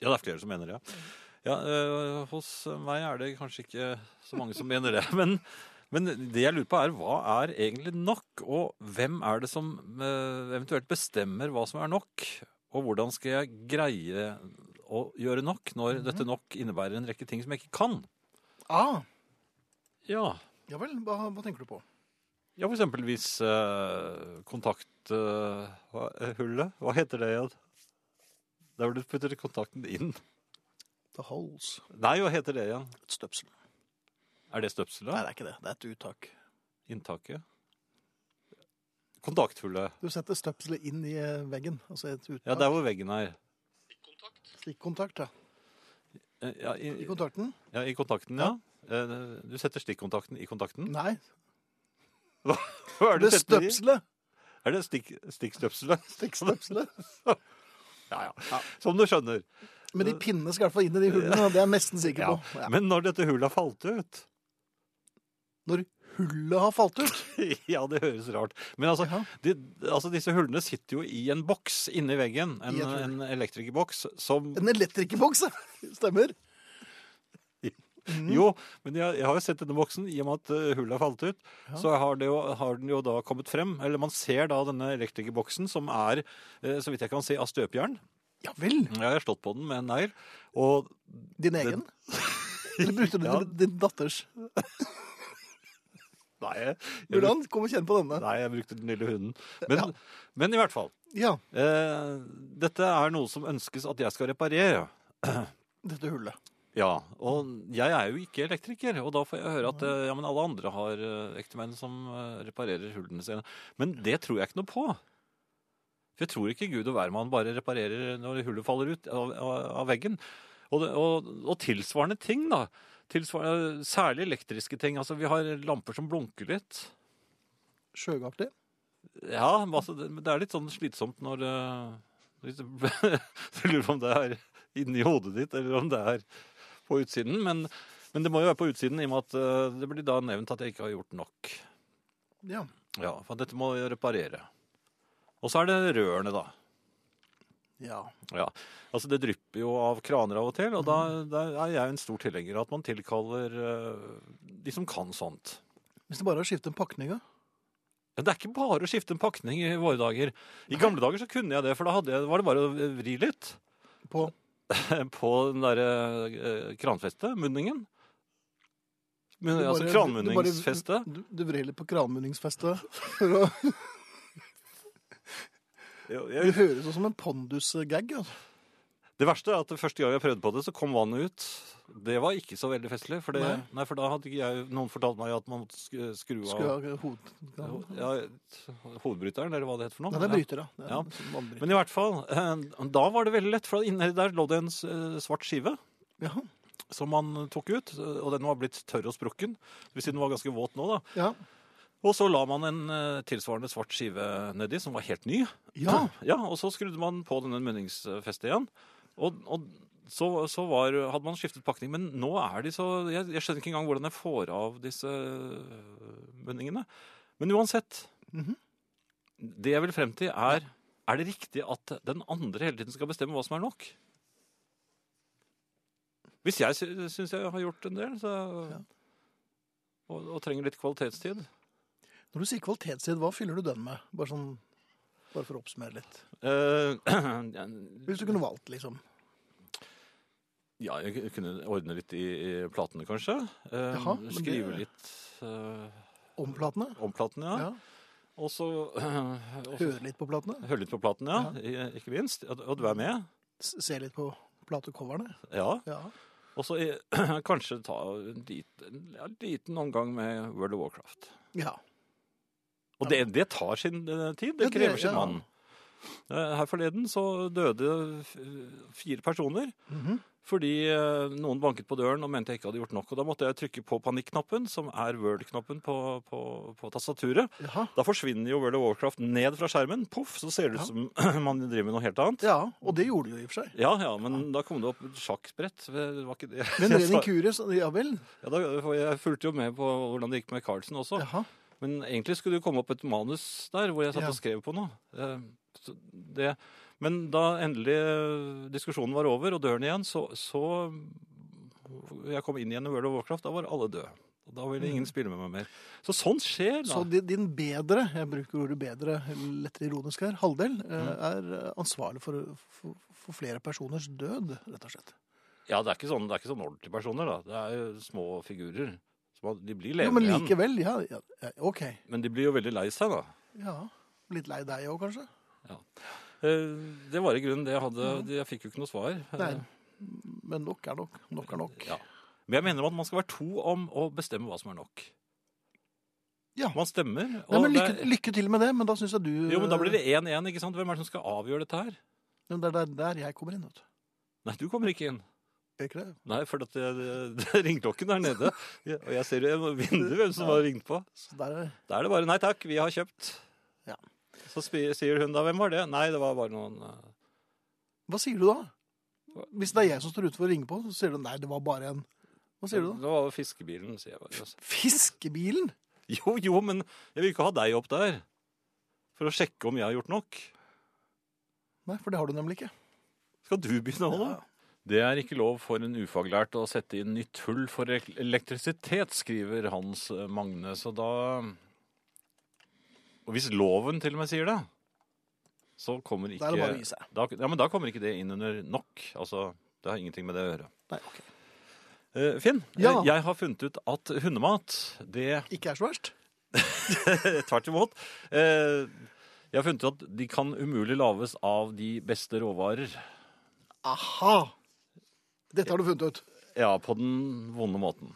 Ja, det er flere som mener det. ja. Ja, øh, hos meg er det kanskje ikke så mange som mener det. Men, men det jeg lurer på, er hva er egentlig nok? Og hvem er det som øh, eventuelt bestemmer hva som er nok? Og hvordan skal jeg greie å gjøre nok når dette nok innebærer en rekke ting som jeg ikke kan? Ah, Ja, ja vel. Hva, hva tenker du på? ja for eksempel hvis kontakthullet Hva heter det igjen? Der hvor du putter kontakten inn. The Holes. Nei, hva heter det igjen? Et støpsel. Er det støpselet? Nei, det er ikke det. Det er et uttak. Inntaket? Kontakthullet. Du setter støpselet inn i eh, veggen. Altså et uttak. Ja, der hvor veggen er. Stikkontakt, ja. Eh, Ja, i, I kontakten? ja, i kontakten, ja. Eh, Du setter stikkontakten i kontakten. Nei. Hva er Det du setter i? støpselet. Er det stikk, stikkstøpselet? Stikkstøpselet. Ja, ja. Ja. Som du skjønner. Men de pinnene skal i hvert fall inn i de hullene, og det er jeg nesten sikker Ja. på. Ja. Men når dette hullet har falt ut Når hullet har falt ut. Ja, det høres rart. Men altså, Ja. de, altså disse hullene sitter jo i en boks inni veggen. En, I et hull. en elektrikerboks som En elektrikerboks, ja. Stemmer. Jo, men jeg, jeg har jo sett denne boksen. I og med at eh, hullet har falt ut, så har, det jo, har den jo da kommet frem. Eller man ser da denne elektrikerboksen, som er, eh, så vidt jeg kan se, av støpejern. Ja vel! Jeg har slått på den med en negl. Og Din egen? Eller brukte du Ja. din, din datters? Nei, jeg, jeg, Hvordan? Kom og kjenn på denne. nei, jeg brukte den lille hunden. Men, Ja. men i hvert fall. Ja, Eh, dette er noe som ønskes at jeg skal reparere. dette hullet. Ja, og jeg er jo ikke elektriker, og da får jeg høre at eh, ja, men alle andre har eh, ektemenn som eh, reparerer hullene sine. Men det tror jeg ikke noe på. For jeg tror ikke Gud og hvermann bare reparerer når hullet faller ut av, av, av veggen. Og, det- og, og tilsvarende ting, da. Tilsvarende, særlig elektriske ting. Altså, vi har lamper som blunker litt. Sjøgartlig. Ja, men altså, det, men det er litt sånn slitsomt når eh, hvis du Jeg lurer på om det er inni hodet ditt, eller om det er på utsiden. Men, men det må jo være på utsiden, i og med at eh, det blir da nevnt at jeg ikke har gjort nok. Ja. Ja, For dette må jeg reparere. Og så er det rørene, da. ja. Ja, altså Det drypper jo av kraner av og til, og da, da er jeg en stor tilhenger av at man tilkaller eh, de som kan sånt. Hvis det bare er å skifte en pakning, ja. Men det er ikke bare å skifte en pakning i våre dager. I gamle dager så kunne jeg det, for da hadde jeg, var det bare å vri litt På på den derre eh, kranfestet, munningen. Men, Du altså bare- kranmunningsfestet. Du, du vrir litt på kranmunningsfestet. For å, Jo, det jeg- høres ut som en pondus-gag. Altså. Det verste er at det første gang jeg prøvde på det, så kom vannet ut. Det var ikke så veldig festlig, for, det, nei. Nei. for da hadde ikke jeg, noen fortalt meg at man måtte sk- skru Skulle av ha hod... ja, hovedbryteren, eller hva det heter for noe. Nei, det er Ja. brytere. Det er Ja. en sånn vannbryter. Men i hvert fall, eh, da var det veldig lett, for inni der lå det en s- eh, svart skive. Ja. som man tok ut, og den var blitt tørr og sprukken. Det vil si den var ganske våt nå, da. Ja. Og så la man en eh, tilsvarende svart skive nedi, som var helt ny. ja. Ja, Og så skrudde man på denne munningsfestet igjen. Og, og så, så var, hadde man skiftet pakning, men nå er de så jeg, jeg skjønner ikke engang hvordan jeg får av disse eh, munningene. Men uansett Mhm. Det jeg vil frem til, er Er det riktig at den andre hele tiden skal bestemme hva som er nok? Hvis jeg sy- syns jeg har gjort en del, så Ja. og, og trenger litt kvalitetstid Når du sier kvalitetstid, hva fyller du den med? Bare sånn bare for å oppsummere litt. Eh, Hvis du kunne valgt, liksom. Ja, jeg kunne ordne litt i, i platene, kanskje. Eh, Jaha, men skrive det- litt eh, Om platene. om platene, ja. Ja. Og så eh, og så Høre litt på platene. høre litt på platene, ja. I- Ikke minst. Og, og du er med. S- Se litt på platecoverne. Ja. Ja. Og så eh, kanskje ta en liten, ja, en liten omgang med World of Warcraft. ja. Og det, det tar sin eh, tid. Ja, Det det- krever sin ja. mann. Eh, Her forleden så døde f- fire personer Mhm. fordi eh, noen banket på døren og mente jeg ikke hadde gjort nok. Og da måtte jeg trykke på panikknappen, som er Word-knappen på, på, på tastaturet. Jaha. Da forsvinner jo World of Warcraft ned fra skjermen. Poff, så ser det ut som man driver med noe helt annet. ja. Og det gjorde du jo i og for seg. Ja, ja, men da kom det opp et sjakkbrett. Det var ikke det. Men jeg ren sa- inkurie, så ja vel. Ja, da, for jeg fulgte jo med på hvordan det gikk med Carlsen også. Jaha. Men egentlig skulle det jo komme opp et manus der hvor jeg satt Ja. og skrev på noe. Eh, så Det, men da endelig eh, diskusjonen var over og døren igjen, så, så eh, jeg kom inn igjen i World of Warcraft, da var alle døde. Og da ville Mm. ingen spille med meg mer. Så sånt skjer, da. Så di- din bedre, jeg bruker ordet bedre, lettere ironisk her, halvdel, Mm. eh, er ansvarlig for, for, for flere personers død, rett og slett. Ja, det er ikke sånn, det er ikke sånn ordentlige personer, da. Det er jo små figurer. Så man- De blir Jo, levende men igjen. likevel, ja. ja ja, OK. Men de blir jo veldig lei seg, da. Ja. Litt lei deg òg, kanskje? Eh, Det var i grunnen det jeg hadde. Jeg fikk jo ikke noe svar. Eh, Nei. Men nok er nok. Nok er nok. Ja. Men jeg mener at man skal være to om å bestemme hva som er nok. Ja. Man stemmer. Nei, men det- lykke, lykke til med det, men da syns jeg du jo, men da blir det 1-1, ikke sant? Hvem er det som skal avgjøre dette her? eh, Men Det er der, der jeg kommer inn, vet du. Nei, du kommer ikke inn. Er ikke det? Nei, for at det, det, ringklokken der nede, Ja, og jeg ser jo i vinduet hvem som har ringt på. Så der er Da er det bare 'nei takk, vi har kjøpt'. Ja. Så spi- sier hun da 'hvem var det'? Nei, det var bare noen eh, Hva sier du da? Hvis det er jeg som står utenfor og ringer på, så sier du nei, det var bare en Hva sier du da? Det var fiskebilen, sier jeg bare. Fiskebilen? Jo, jo, men jeg vil ikke ha deg opp der. For å sjekke om jeg har gjort nok. Nei, for det har du nemlig ikke. Skal du begynne å holde? Det er ikke lov for en ufaglært å sette inn nytt hull for elek- elektrisitet, skriver Hans eh, Magne. Så da Og hvis loven til og med sier det, så kommer Da er det bare å ikke gi seg. da, ja, men da kommer ikke det inn under nok. Altså, det har ingenting med det å gjøre. Nei, ok. Eh, Finn, Ja. eh, jeg har funnet ut at hundemat, det Ikke er så verst. Tvert imot. Eh, jeg har funnet ut at de kan umulig lages av de beste råvarer. Aha! Dette har du funnet ut. Ja, på den vonde måten.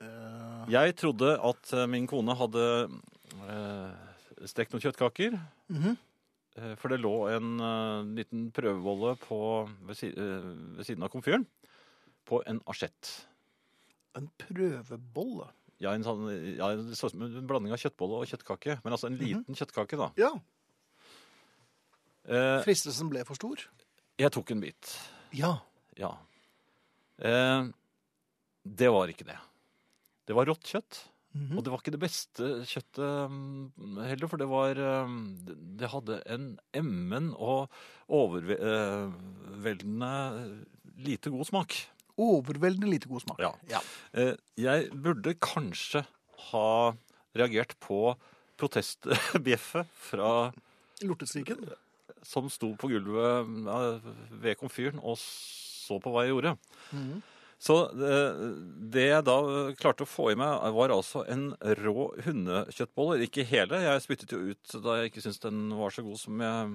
Eh, Jeg trodde at eh, min kone hadde eh, stekt noen kjøttkaker. Mhm. eh, For det lå en eh, liten prøvebolle på, ved, si, eh, ved siden av komfyren på en asjett. en prøvebolle. Ja, en, sånn, ja, det så ut som en blanding av kjøttbolle og kjøttkake. Men altså en Mhm. liten kjøttkake, da. Ja. Eh, Fristelsen ble for stor. jeg tok en bit. Ja. Ja. Eh, det var ikke det. Det var rått kjøtt. Mhm. Og det var ikke det beste kjøttet mm, heller, for det var eh, det- Det hadde en emmen og overveldende eh, lite god smak. Overveldende lite god smak. Ja. Ja. Eh, Jeg burde kanskje ha reagert på protestbjeffet fra Lorteskriken. som sto på gulvet mm, ja, ved komfyren og så på hva jeg gjorde. Mhm. Så eh, det jeg da eh, klarte å få i meg, var altså en rå hundekjøttbolle. Ikke hele. Jeg spyttet jo ut da jeg ikke syntes den var så god som jeg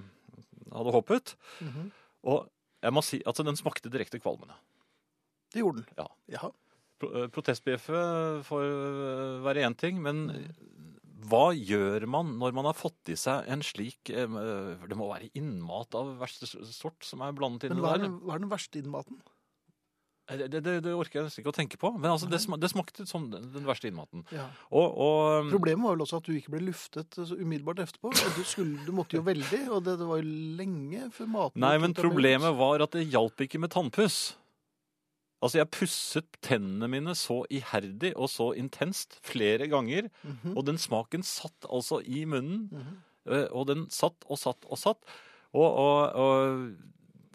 hadde håpet. Mhm. Og jeg må si at den smakte direkte kvalmende. Det gjorde den. Ja. Jaha. Pro- eh, Protestbjeffet får eh, være én ting, men hva gjør man når man har fått i seg en slik eh, for Det må være innmat av verste sort som er blandet Men inni hva er, der. Eh, den, hva er den verste innmaten? Det, det, det orker jeg nesten ikke å tenke på. Men altså, det, sma- det smakte som den, den verste innmaten. Ja. Og, og Mm. eh, Problemet var vel også at du ikke ble luftet så umiddelbart etterpå. og Du, skulle, du måtte jo veldig, og det, det var jo lenge før maten Nei, ble men tatt av problemet munnen. var at det hjalp ikke med tannpuss. Altså, jeg pusset tennene mine så iherdig og så intenst flere ganger, Mhm. og den smaken satt altså i munnen, Mhm. eh, og den satt og satt og satt. Og, og, og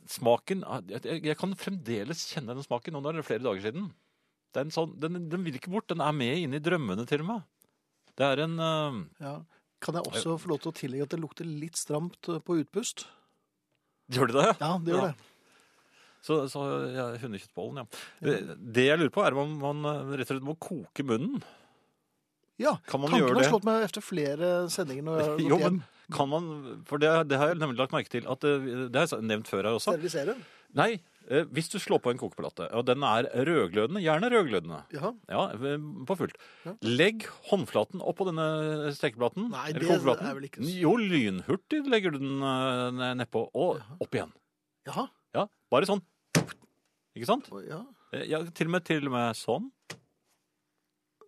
smaken jeg- jeg, jeg kan fremdeles kjenne den smaken, og nå er det flere dager siden. Det er en sånn, den, den vil ikke bort. Den er med inn i drømmene, til og med. Det er en eh, Ja. Kan jeg også få lov til å tillegge at det lukter litt stramt eh, på utpust? Gjør det det? Ja, det gjør Ja. det. Så, så ja, hundekjøttbollen, ja. Eh, Det jeg lurer på, er om man eh, rett og slett må koke munnen. Ja, Kan man Tanken gjøre har det? slått meg etter flere sendinger når jeg har gått Jo, men hjem. kan man For det, det har jeg nemlig lagt merke til at eh, Det har jeg nevnt før her også. Sterilisere. Nei, eh, hvis du slår på en kokeplate, og den er rødglødende, gjerne rødglødende Ja. Ja, eh, på fullt. Ja. Legg håndflaten oppå denne stekeplaten. Nei, eller det kokeplaten. er vel ikke så- Jo, lynhurtig legger du den eh, nedpå, og opp igjen. Jaha. Ja, Bare sånn. Ikke sant? Å, Ja. Eh, Ja, til og med, til og med sånn.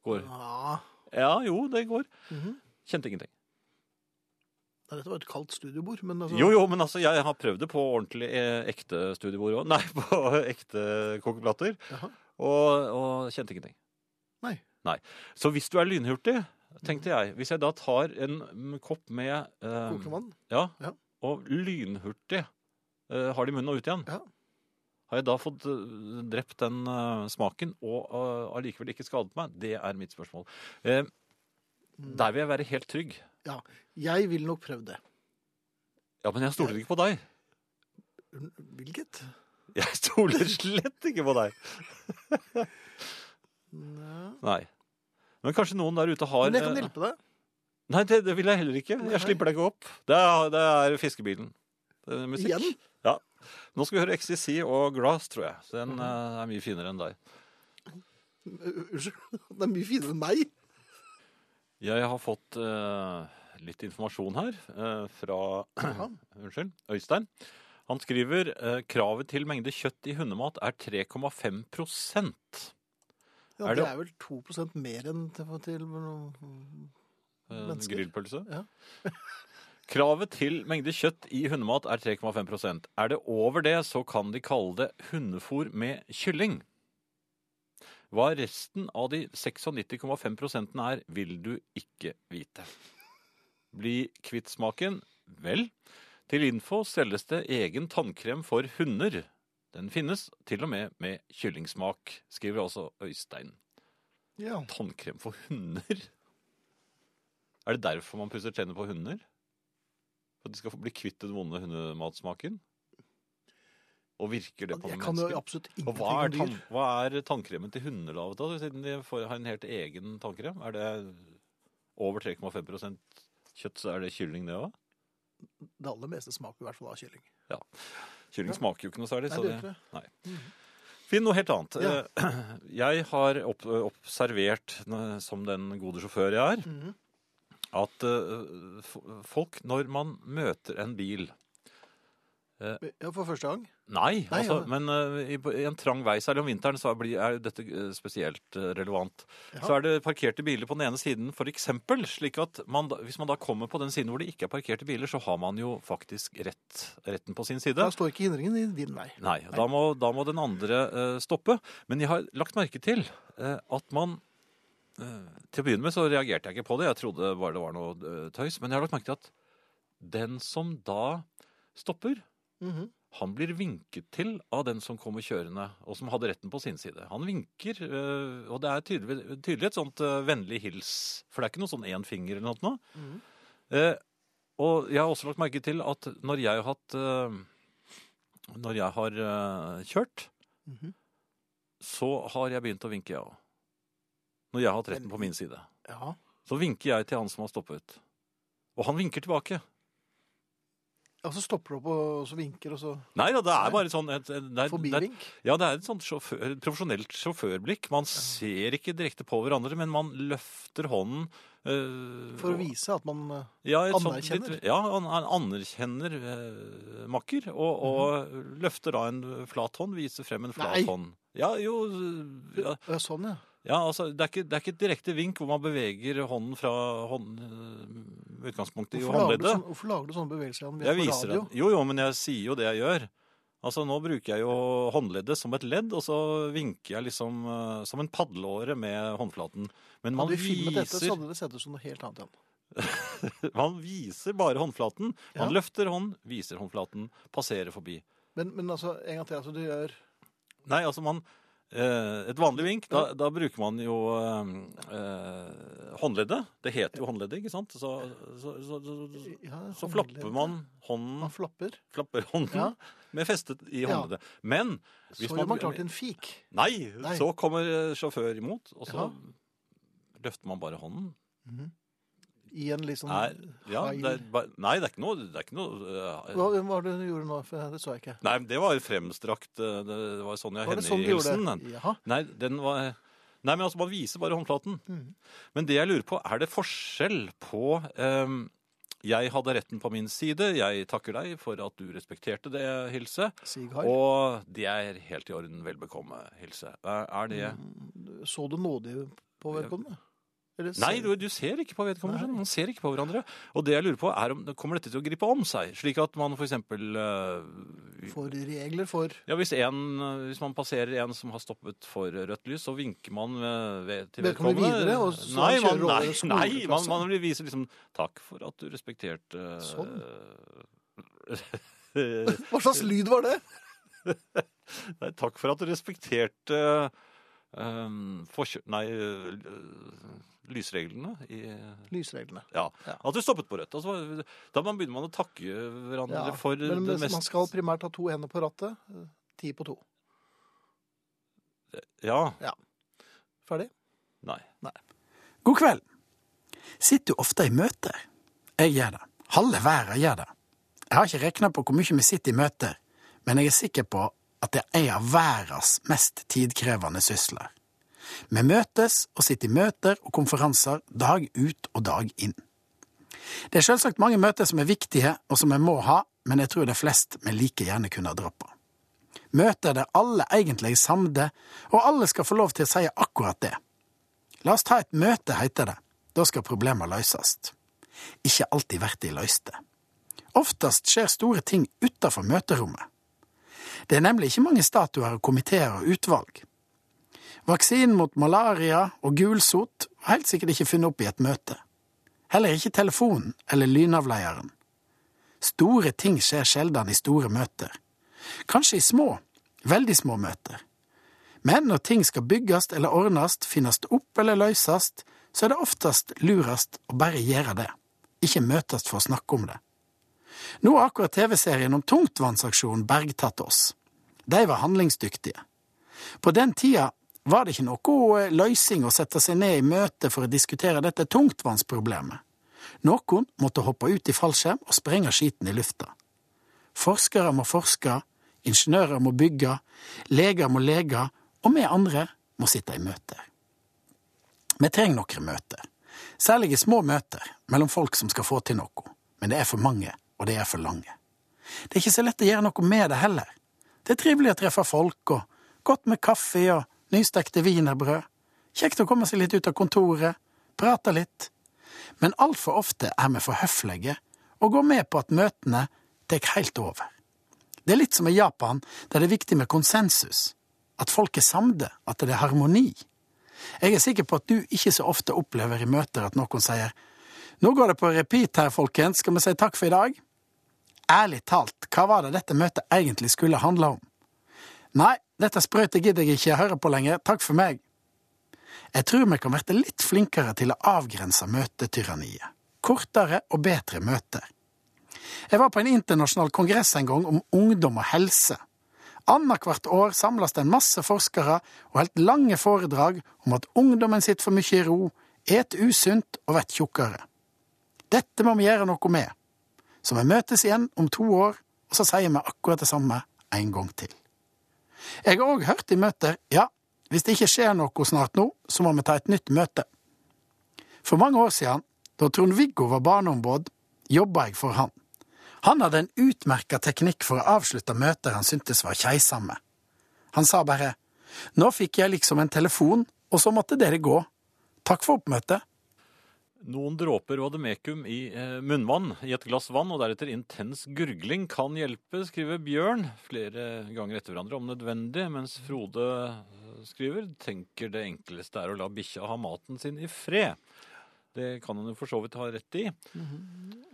Går. ja. Ja, jo, det går. Ah, Mhm. Kjente ingenting. Nei, Dette var et kaldt studiobord, men altså Jo, jo, men altså, jeg har prøvd det på ordentlig eh, ekte studiebord òg. Nei, på ekte kokeplater. Jaha. Og, og kjente ingenting. Nei. Nei. Så hvis du er lynhurtig, tenkte jeg Hvis jeg da tar en mm, kopp med eh, Kokevann. ja, Ja. og lynhurtig eh, har det i munnen og ut igjen, Ja. har jeg da fått eh, drept den eh, smaken og eh, allikevel ikke skadet meg? Det er mitt spørsmål. Eh, Mm. der vil jeg være helt trygg. Jeg ville nok prøvd det. Ja, men jeg stoler ikke på deg. Hvilket? Jeg stoler slett ikke på deg. Nei. Nei. Men kanskje noen der ute har Men jeg kan eh, hjelpe deg. Nei, det, det vil jeg heller ikke. Nei. Jeg slipper deg ikke opp. Det er, det er fiskebilen. Det er musikk. Igjen? Ja. Nå skal vi høre XTC og Glass, tror jeg. Så Den eh, er mye finere enn deg. U- Unnskyld. Det er mye finere enn meg. Jeg har fått eh, litt informasjon her eh, fra Ja. Unnskyld, Øystein. Han skriver eh, kravet til mengde kjøtt i hundemat er 3,5 eh, Ja, det Er det- er vel 2 mer enn til, til mm. Mennesker. Eh, grillpølse. Ja. Kravet til mengde kjøtt i hundemat er 3,5 Er det over det, så kan de kalle det hundefôr med kylling. Hva resten av de 96,5 er, vil du ikke vite. Bli kvitt smaken? Vel, til info selges det egen tannkrem for hunder. Den finnes til og med med kyllingsmak, skriver altså Øystein. Ja. Tannkrem for hunder? Er det derfor man pusser tenner på hunder? For at de skal få bli kvitt den vonde hundematsmaken? Og virker det på Jeg kan jo mennesker? absolutt Og hva er, ingenting om tann, dyr. hva er tannkremen til hunder laget av, siden de får, har en helt egen tannkrem? Er det over 3,5 kjøtt, så er det kylling det òg? Det aller meste smaker i hvert fall av kylling. Kylling Ja. smaker jo ikke noe særlig. Nei, så det det- gjør ikke det. Finn noe helt annet. Ja. Eh, Jeg har opp, observert, eh, som den gode sjåfør jeg er, Mhm. at eh, f- folk, når man møter en bil Ja, for første gang. Nei, Nei, altså, ja. men eh, i, på- i en trang vei, særlig om vinteren, så blir, er dette eh, spesielt eh, relevant. Ja. Så er det parkerte biler på den ene siden, for eksempel, slik at man, da- hvis man da kommer på den siden hvor det ikke er parkerte biler, så har man jo faktisk rett, retten på sin side. Der står ikke hindringen i din vei. Nei, Da, må, da må den andre eh, stoppe. Men jeg har lagt merke til eh, at man eh, Til å begynne med så reagerte jeg ikke på det, jeg trodde bare det var noe eh, tøys. Men jeg har lagt merke til at den som da stopper, Mhm. han blir vinket til av den som kommer kjørende, og som hadde retten på sin side. Han vinker, øh, og det er tydelig, tydelig et sånt øh, vennlig hils, for det er ikke noe sånn én finger eller noe. nå. Mhm. Eh, og jeg har også lagt merke til at når jeg har hatt øh, Når jeg har øh, kjørt, Mhm. så har jeg begynt å vinke, jeg òg. Når jeg har hatt retten Men- på min side. Ja. Så vinker jeg til han som har stoppet. Og han vinker tilbake. Og så stopper du opp og så vinker, og så Nei da, det er bare sånn et, et, det er- det er forbivink. Ja, det er et sånt sjåfør, et profesjonelt sjåførblikk. Man ser ikke direkte på hverandre, men man løfter hånden. øh, For å og- vise at man eh, ja, et sånt anerkjenner. litt- ja, han han anerkjenner øh, makker, og, og løfter da en flat hånd, viser frem en flat Nei. hånd. Ja, jo øh, ja, ja, Sånn, ja. ja, altså, det er, ikke, det er ikke et direkte vink hvor man beveger hånden fra hånd, øh, utgangspunktet i Hvorfor lager, du håndleddet. sånn, hvorfor lager du sånne bevegelser igjen? Vi Jeg er på viser det. radio. Jo, jo, men jeg sier jo det jeg gjør. Altså, nå bruker jeg jo håndleddet som et ledd, og så vinker jeg liksom eh, som en padleåre med håndflaten. Men man Hadde vi filmet viser, dette, så hadde det sett ut som noe helt annet igjen. man viser bare håndflaten. Ja. Man løfter hånd, viser håndflaten, passerer forbi. Men, men altså, en gang til. Altså, du gjør Nei, altså man eh, Et vanlig vink, da, da bruker man jo eh, eh, håndleddet. Det heter jo håndleddet, ikke sant? Så, så, så, så, ja, så håndledd. flapper man hånden, Man flapper. flapper hånden Ja. med festet i Ja. håndleddet. Men Så Hvis gjør man- man klart til en fik. Nei, Nei. så kommer eh, sjåfør imot, og så Ja. løfter man bare hånden. I en litt sånn Nei, ja, feil- det er, ba- nei, det er ikke noe, det er ikke noe eh, Hva hva var det du gjorde nå? For det så jeg ikke. Nei, men det var fremstrakt eh, Det var Sonja Var det sånn du gjorde Hennie-hilsen. det? Jaha. nei, den var Nei, men altså, man viser bare håndflaten. Mhm. Men det jeg lurer på, er det forskjell på eh, Jeg hadde retten på min side, jeg takker deg for at du respekterte det, Hilse. Sighar. Og det er helt i orden, vel bekomme, Hilse. Er er det Så du nådig på vedkommende? Eller Nei, ser- du, du ser ikke på vedkommende. Nei. skjønner du. Man ser ikke på hverandre. Og det jeg lurer på, er om kommer dette til å gripe om seg? Slik at man for eksempel eh, For regler for ja, hvis, en, eh, hvis man passerer en som har stoppet for rødt lys, så vinker man eh, ved, til Velkommen vedkommende. videre, og så nei, kjører man, over nei, nei, man, skoleklassen. man vil vise liksom Takk for at du respekterte eh, Sånn. Hva slags lyd var det? Nei, takk for at du respekterte eh, forkjø... Nei, eh, lysreglene i Lysreglene. Ja. Ja. At du stoppet på rødt. Altså, da man begynner man å takke hverandre Ja, for Men det hvis mest man skal primært ha to hender på rattet. eh, Ti på to. Ja. Ferdig? Nei. God kveld. Sitter du ofte i møter? Jeg gjør det. Halve verden gjør det. Jeg har ikke regna på hvor mye vi sitter i møter, men jeg er sikker på at det er en av verdens mest tidkrevende sysler. Vi møtes og sitter i møter og konferanser dag ut og dag inn. Det er selvsagt mange møter som er viktige og som vi må ha, men jeg tror det er flest vi like gjerne kunne ha droppa. Møter der alle egentlig er samde, og alle skal få lov til å si akkurat det. La oss ta et møte, heter det. Da skal problemer løses. Ikke alltid blir de løste. Oftest skjer store ting utenfor møterommet. Det er nemlig ikke mange statuer og komiteer og utvalg. Vaksinen mot malaria og gulsot var helt sikkert ikke funnet opp i et møte. Heller ikke telefonen eller lynavleieren. Store ting skjer sjelden i store møter. Kanskje i små, Veldig små møter. Men når ting skal byggast eller ordnast, finnast opp eller løysast, så er det oftest lurast å bare gjøre det, ikke møtast for å snakke om det. Nå har akkurat TV-serien om tungtvannsaksjonen bergtatt oss. De var handlingsdyktige. På den tida var det ikke noe løysing å sette seg ned i møte for å diskutere dette tungtvannsproblemet. Noen måtte hoppe ut i fallskjerm og sprenge skiten i lufta. Forskere må forske, ingeniører må bygge, leger må lege, og vi andre må sitte i møter. Vi trenger noen møter, særlig små møter mellom folk som skal få til noe, men det er for mange, og det er for lange. Det er ikke så lett å gjøre noe med det heller. Det er trivelig å treffe folk, og godt med kaffe og nystekte wienerbrød. Kjekt å komme seg litt ut av kontoret, prate litt. Men altfor ofte er vi for høflige og går med på at møtene tar helt over. Det er litt som i Japan, der det er viktig med konsensus. At folk er samde, at det er harmoni. Jeg er sikker på at du ikke så ofte opplever i møter at noen sier Nå går det på repeat her, folkens, skal vi si takk for i dag? Ærlig talt, hva var det dette møtet egentlig skulle handle om? Nei, dette sprøytet gidder jeg ikke høre på lenger, takk for meg. Jeg tror vi kan bli litt flinkere til å avgrense møtetyranniet. Kortere og bedre møter. Jeg var på en internasjonal kongress en gang om ungdom og helse. Annethvert år samles det en masse forskere og helt lange foredrag om at ungdommen sitter for mye i ro, et usunt og blir tjukkere. Dette må vi gjøre noe med. Så vi møtes igjen om to år, og så sier vi akkurat det samme en gang til. Jeg har òg hørt i møter ja, hvis det ikke skjer noe snart nå, så må vi ta et nytt møte. For mange år siden, da Trond-Viggo var barneombud, jobba jeg for han. Han hadde en utmerka teknikk for å avslutte møter han syntes var keisamme. Han sa bare nå fikk jeg liksom en telefon, og så måtte dere gå. Takk for oppmøtet. Noen dråper vademekum i eh, munnvann i et glass vann, og deretter intens gurgling kan hjelpe, skriver Bjørn flere ganger etter hverandre om nødvendig, mens Frode eh, skriver tenker det enkleste er å la bikkja ha maten sin i fred. Det kan han jo for så vidt ha rett i.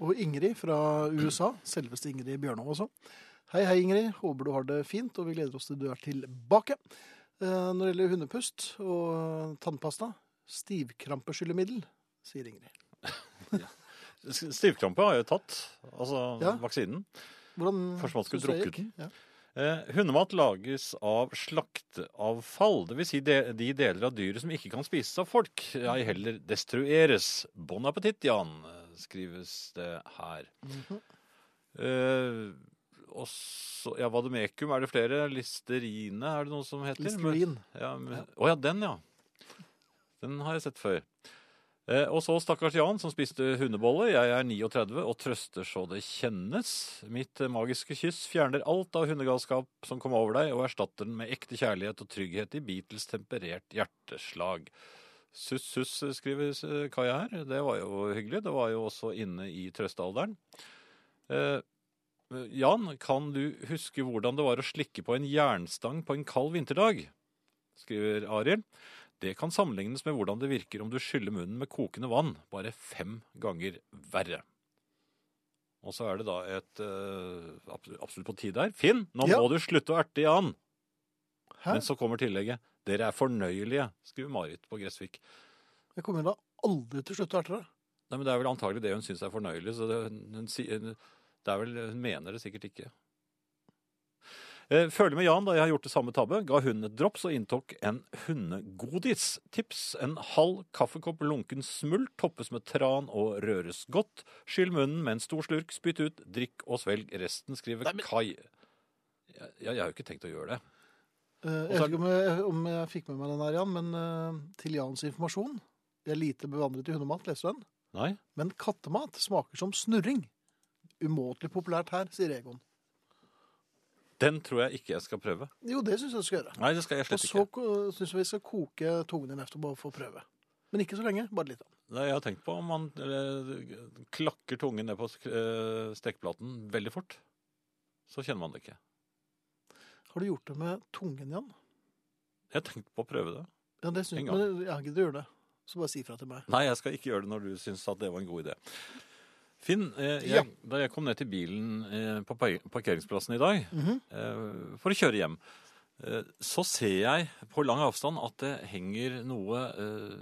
Og Ingrid fra USA, selveste Ingrid Bjørnov også. Hei, hei Ingrid. Håper du har det fint, og vi gleder oss til du er tilbake. Eh, Når det gjelder hundepust og tannpasta, stivkrampeskyllemiddel, sier Ingrid. S- Stivkrampe har jeg jo tatt, altså Ja. vaksinen. Hvordan Først man skulle synes det drukke gikk? Ja. Eh, hundemat lages av slakteavfall, dvs. Si de, de deler av dyret som ikke kan spises av folk, ei heller destrueres. Bon appétit, Jan, eh, skrives det her. eh, og så, ja, Vademekum, er det flere? Listerine, er det noe som heter? Listerin. Ja, men, å ja, den ja. Den har jeg sett før. Eh, og så stakkars Jan som spiste hundebolle. Jeg er 39 og trøster så det kjennes. Mitt eh, magiske kyss fjerner alt av hundegalskap som kom over deg, og erstatter den med ekte kjærlighet og trygghet i Beatles temperert hjerteslag. Suss, suss, eh, skriver eh, Kaja her. Det var jo hyggelig. Det var jo også inne i trøstealderen. Eh, Jan, kan du huske hvordan det var å slikke på en jernstang på en kald vinterdag? skriver Arild. Det kan sammenlignes med hvordan det virker om du skyller munnen med kokende vann, bare fem ganger verre. Og så er det da et eh, abs- absolutt på tide her. Finn, nå Ja. må du slutte å erte Jan! Hæ? Men så kommer tillegget. Dere er fornøyelige, skriver Marit på Gressvik. Jeg kommer da aldri til å slutte å erte deg. Nei, men Det er vel antagelig det hun syns er fornøyelig. så det, hun, si- hun, det er vel, hun mener det sikkert ikke. Eh, Føler med Jan da jeg har gjort det samme tabbe. Ga hunden et drops og inntok en hundegodis. Tips en halv kaffekopp lunken smult, toppes med tran og røres godt. Skyll munnen med en stor slurk, spytt ut, drikk og svelg resten, skriver Nei, men- Kai. Jeg, jeg har jo ikke tenkt å gjøre det. Eh, Jeg så vet er- ikke om jeg, om jeg fikk med meg den her, Jan, men eh, til Jans informasjon Jeg er lite bevandret i hundemat, leser du den? Nei? Men kattemat smaker som snurring. Umåtelig populært her, sier Egon. Den tror jeg ikke jeg skal prøve. Jo, det syns jeg du skal gjøre. Nei, det skal jeg Og slett så ikke. syns jeg vi skal koke tungen din etterpå for å prøve. Men ikke så lenge, bare litt. Nei, jeg har tenkt på om man eh, klakker tungen ned på sk- eh, stekeplaten veldig fort. Så kjenner man det ikke. Har du gjort det med tungen, Jan? Jeg har tenkt på å prøve det. Ja, det syns En jeg. gang. Men jeg gidder å gjøre det. Så bare si ifra til meg. Nei, jeg skal ikke gjøre det når du syns at det var en god idé. Finn, eh, jeg, Ja. da jeg kom ned til bilen eh, på par- parkeringsplassen i dag Mhm. eh, for å kjøre hjem, Eh, Så ser jeg på lang avstand at det henger noe eh,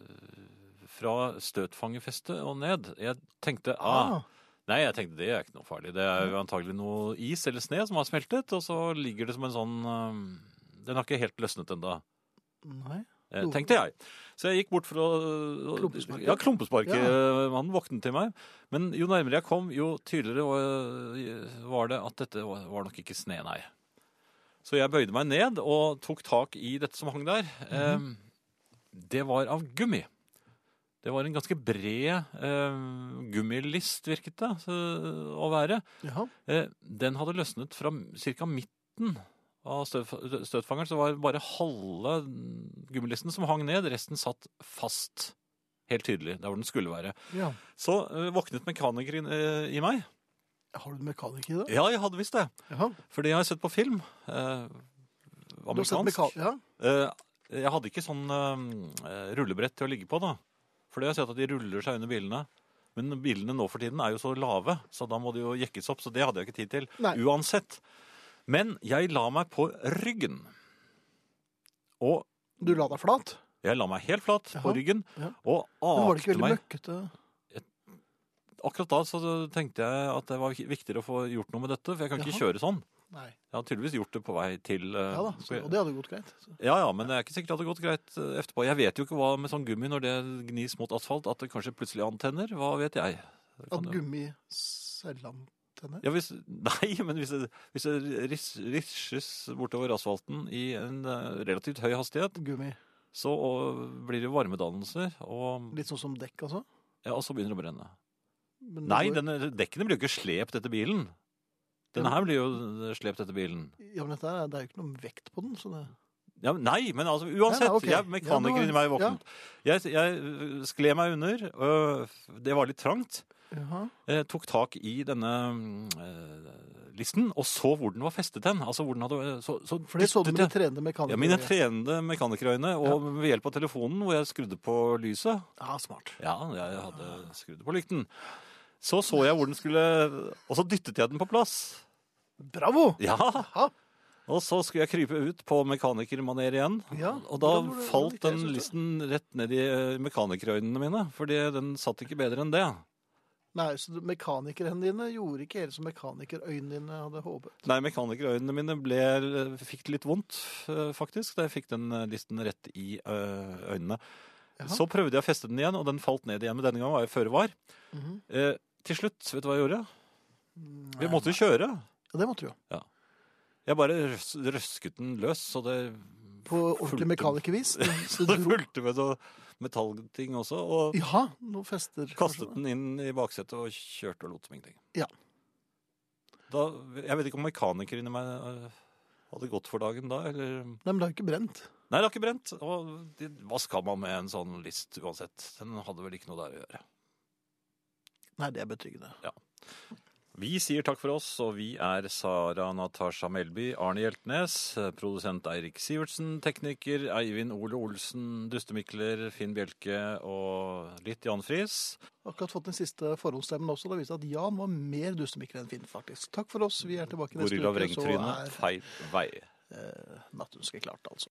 fra støtfangerfestet og ned. Jeg tenkte ah, Nei, jeg tenkte det er ikke noe farlig. Det er jo antagelig noe is eller sne som har smeltet, og så ligger det som en sånn eh, Den har ikke helt løsnet ennå. Nei. Eh, Klump- tenkte jeg. Så jeg gikk bort for å Klumpesparket. Ja, klumpesparkemannen våknet til meg. Men jo nærmere jeg kom, jo tydeligere var- var det at dette var var nok ikke sne, nei. Så jeg bøyde meg ned og tok tak i dette som hang der. Eh, Det var av gummi. Det var en ganske bred eh, gummilist, virket det så- å være. Jaha. Eh, Den hadde løsnet fra ca. midten av støtf støtfangeren, så det var bare halve gummilisten som hang ned. Resten satt fast, helt tydelig, der hvor den skulle være. Ja. Så eh, våknet mekanikeren eh, i meg. Har du en mekaniker i det? Ja, jeg hadde visst det, Jaha. for det har jeg sett på film. Eh, Du har sett amerikansk. mekan- ja. Eh, jeg hadde ikke sånn eh, rullebrett til å ligge på, da. For det har jeg sett at de ruller seg under bilene. Men bilene nå for tiden er jo så lave, så da må de jo jekkes opp. Så det hadde jeg ikke tid til. Nei. Uansett. Men jeg la meg på ryggen. Og Du la deg flat? jeg la meg helt flat på Jaha. ryggen Ja. og Men var det ikke veldig akte meg. møkkete? Akkurat da så tenkte jeg at det var viktigere å få gjort noe med dette, for jeg kan ikke Jaha. kjøre sånn. Nei. Jeg har tydeligvis gjort det på vei til eh, Ja da, så, og det hadde gått greit. Så. Ja, ja, men det er ikke sikkert det hadde gått greit eh, etterpå. Jeg vet jo ikke hva med sånn gummi når det gnis mot asfalt, at det kanskje plutselig antenner. Hva vet jeg? Det kan At jo- gummi selvantenner? Ja, hvis, nei, men hvis det, hvis det ris, risjes bortover asfalten i en eh, relativt høy hastighet, Gummi. så og, blir det jo varmedannelser, og, Litt sånn som dekk, altså? ja, og så begynner det å brenne. Men det Nei, går- denne, dekkene blir jo ikke slept etter bilen. Denne her blir jo eh, slept etter bilen. Ja, men dette er, det er jo ikke noen vekt på den, så det Ja, men nei, men altså, uansett. Ja, ok. jeg, Ja, mekanikeren det i meg var- våknet. Jeg, jeg øh, skled meg under. øh, det var litt trangt. Jaha. Eh, tok tak i denne mm, eh, listen og så hvor den var festet hen. Altså hvor den hadde Så, så For det så du med de dyttet jeg- trenede mekanikere. ja, mine trenende mekanikerøyne, og ved hjelp av telefonen hvor jeg skrudde på lyset Ja, smart. Ja, jeg hadde skrudd på lykten. Så så jeg hvor den skulle Og så dyttet jeg den på plass. Bravo! Ja, Ja, og så skulle jeg krype ut på mekanikermaner igjen. Ja, og hvordan var da det- hvordan falt gikk det, den synes du? listen rett ned i eh, mekanikerøynene mine, fordi den satt ikke bedre enn det. Nei, så du- mekanikerhendene dine gjorde ikke helt som mekanikerøynene dine hadde håpet. Nei, mekanikerøynene mine ble, fikk det litt vondt, eh, faktisk, da jeg fikk den eh, listen rett i eh, øynene. Jaha. Så prøvde jeg å feste den igjen, og den falt ned igjen, men denne gangen var jeg føre var. Mhm. Eh, til slutt, vet du hva jeg gjorde? Vi Nei, måtte jo kjøre. Ja, det måtte du jo. Jeg bare røs, røsket den løs, så det, På ordentlig Fulgte. mekanikervis. Du, du det dro fulgte med noe metallting også. Og Ja, noen fester. Kastet den inn i baksetet og kjørte og lot som ingenting. Ja. Da, jeg vet ikke om mekanikeren i meg øh, hadde gått for dagen da, eller Nei, men det har jo ikke brent. Nei, det har ikke brent. Og de, hva skal man med en sånn list uansett? Den hadde vel ikke noe der å gjøre. Nei, det er betryggende. Vi sier takk for oss, og vi er Sara Natasha Melby, Arne Hjeltnes, produsent Eirik Sivertsen, tekniker Eivind Ole Olsen, Dustemikler, Finn Bjelke og litt Jan Friis. Akkurat fått den siste forhåndsstemmen også. Det viste at Jan var mer dustemikker enn Finn, faktisk. Takk for oss. Vi er tilbake neste uke, Gorilla så vrengtryne, er feil vei. eh, Nattønsket klart, altså.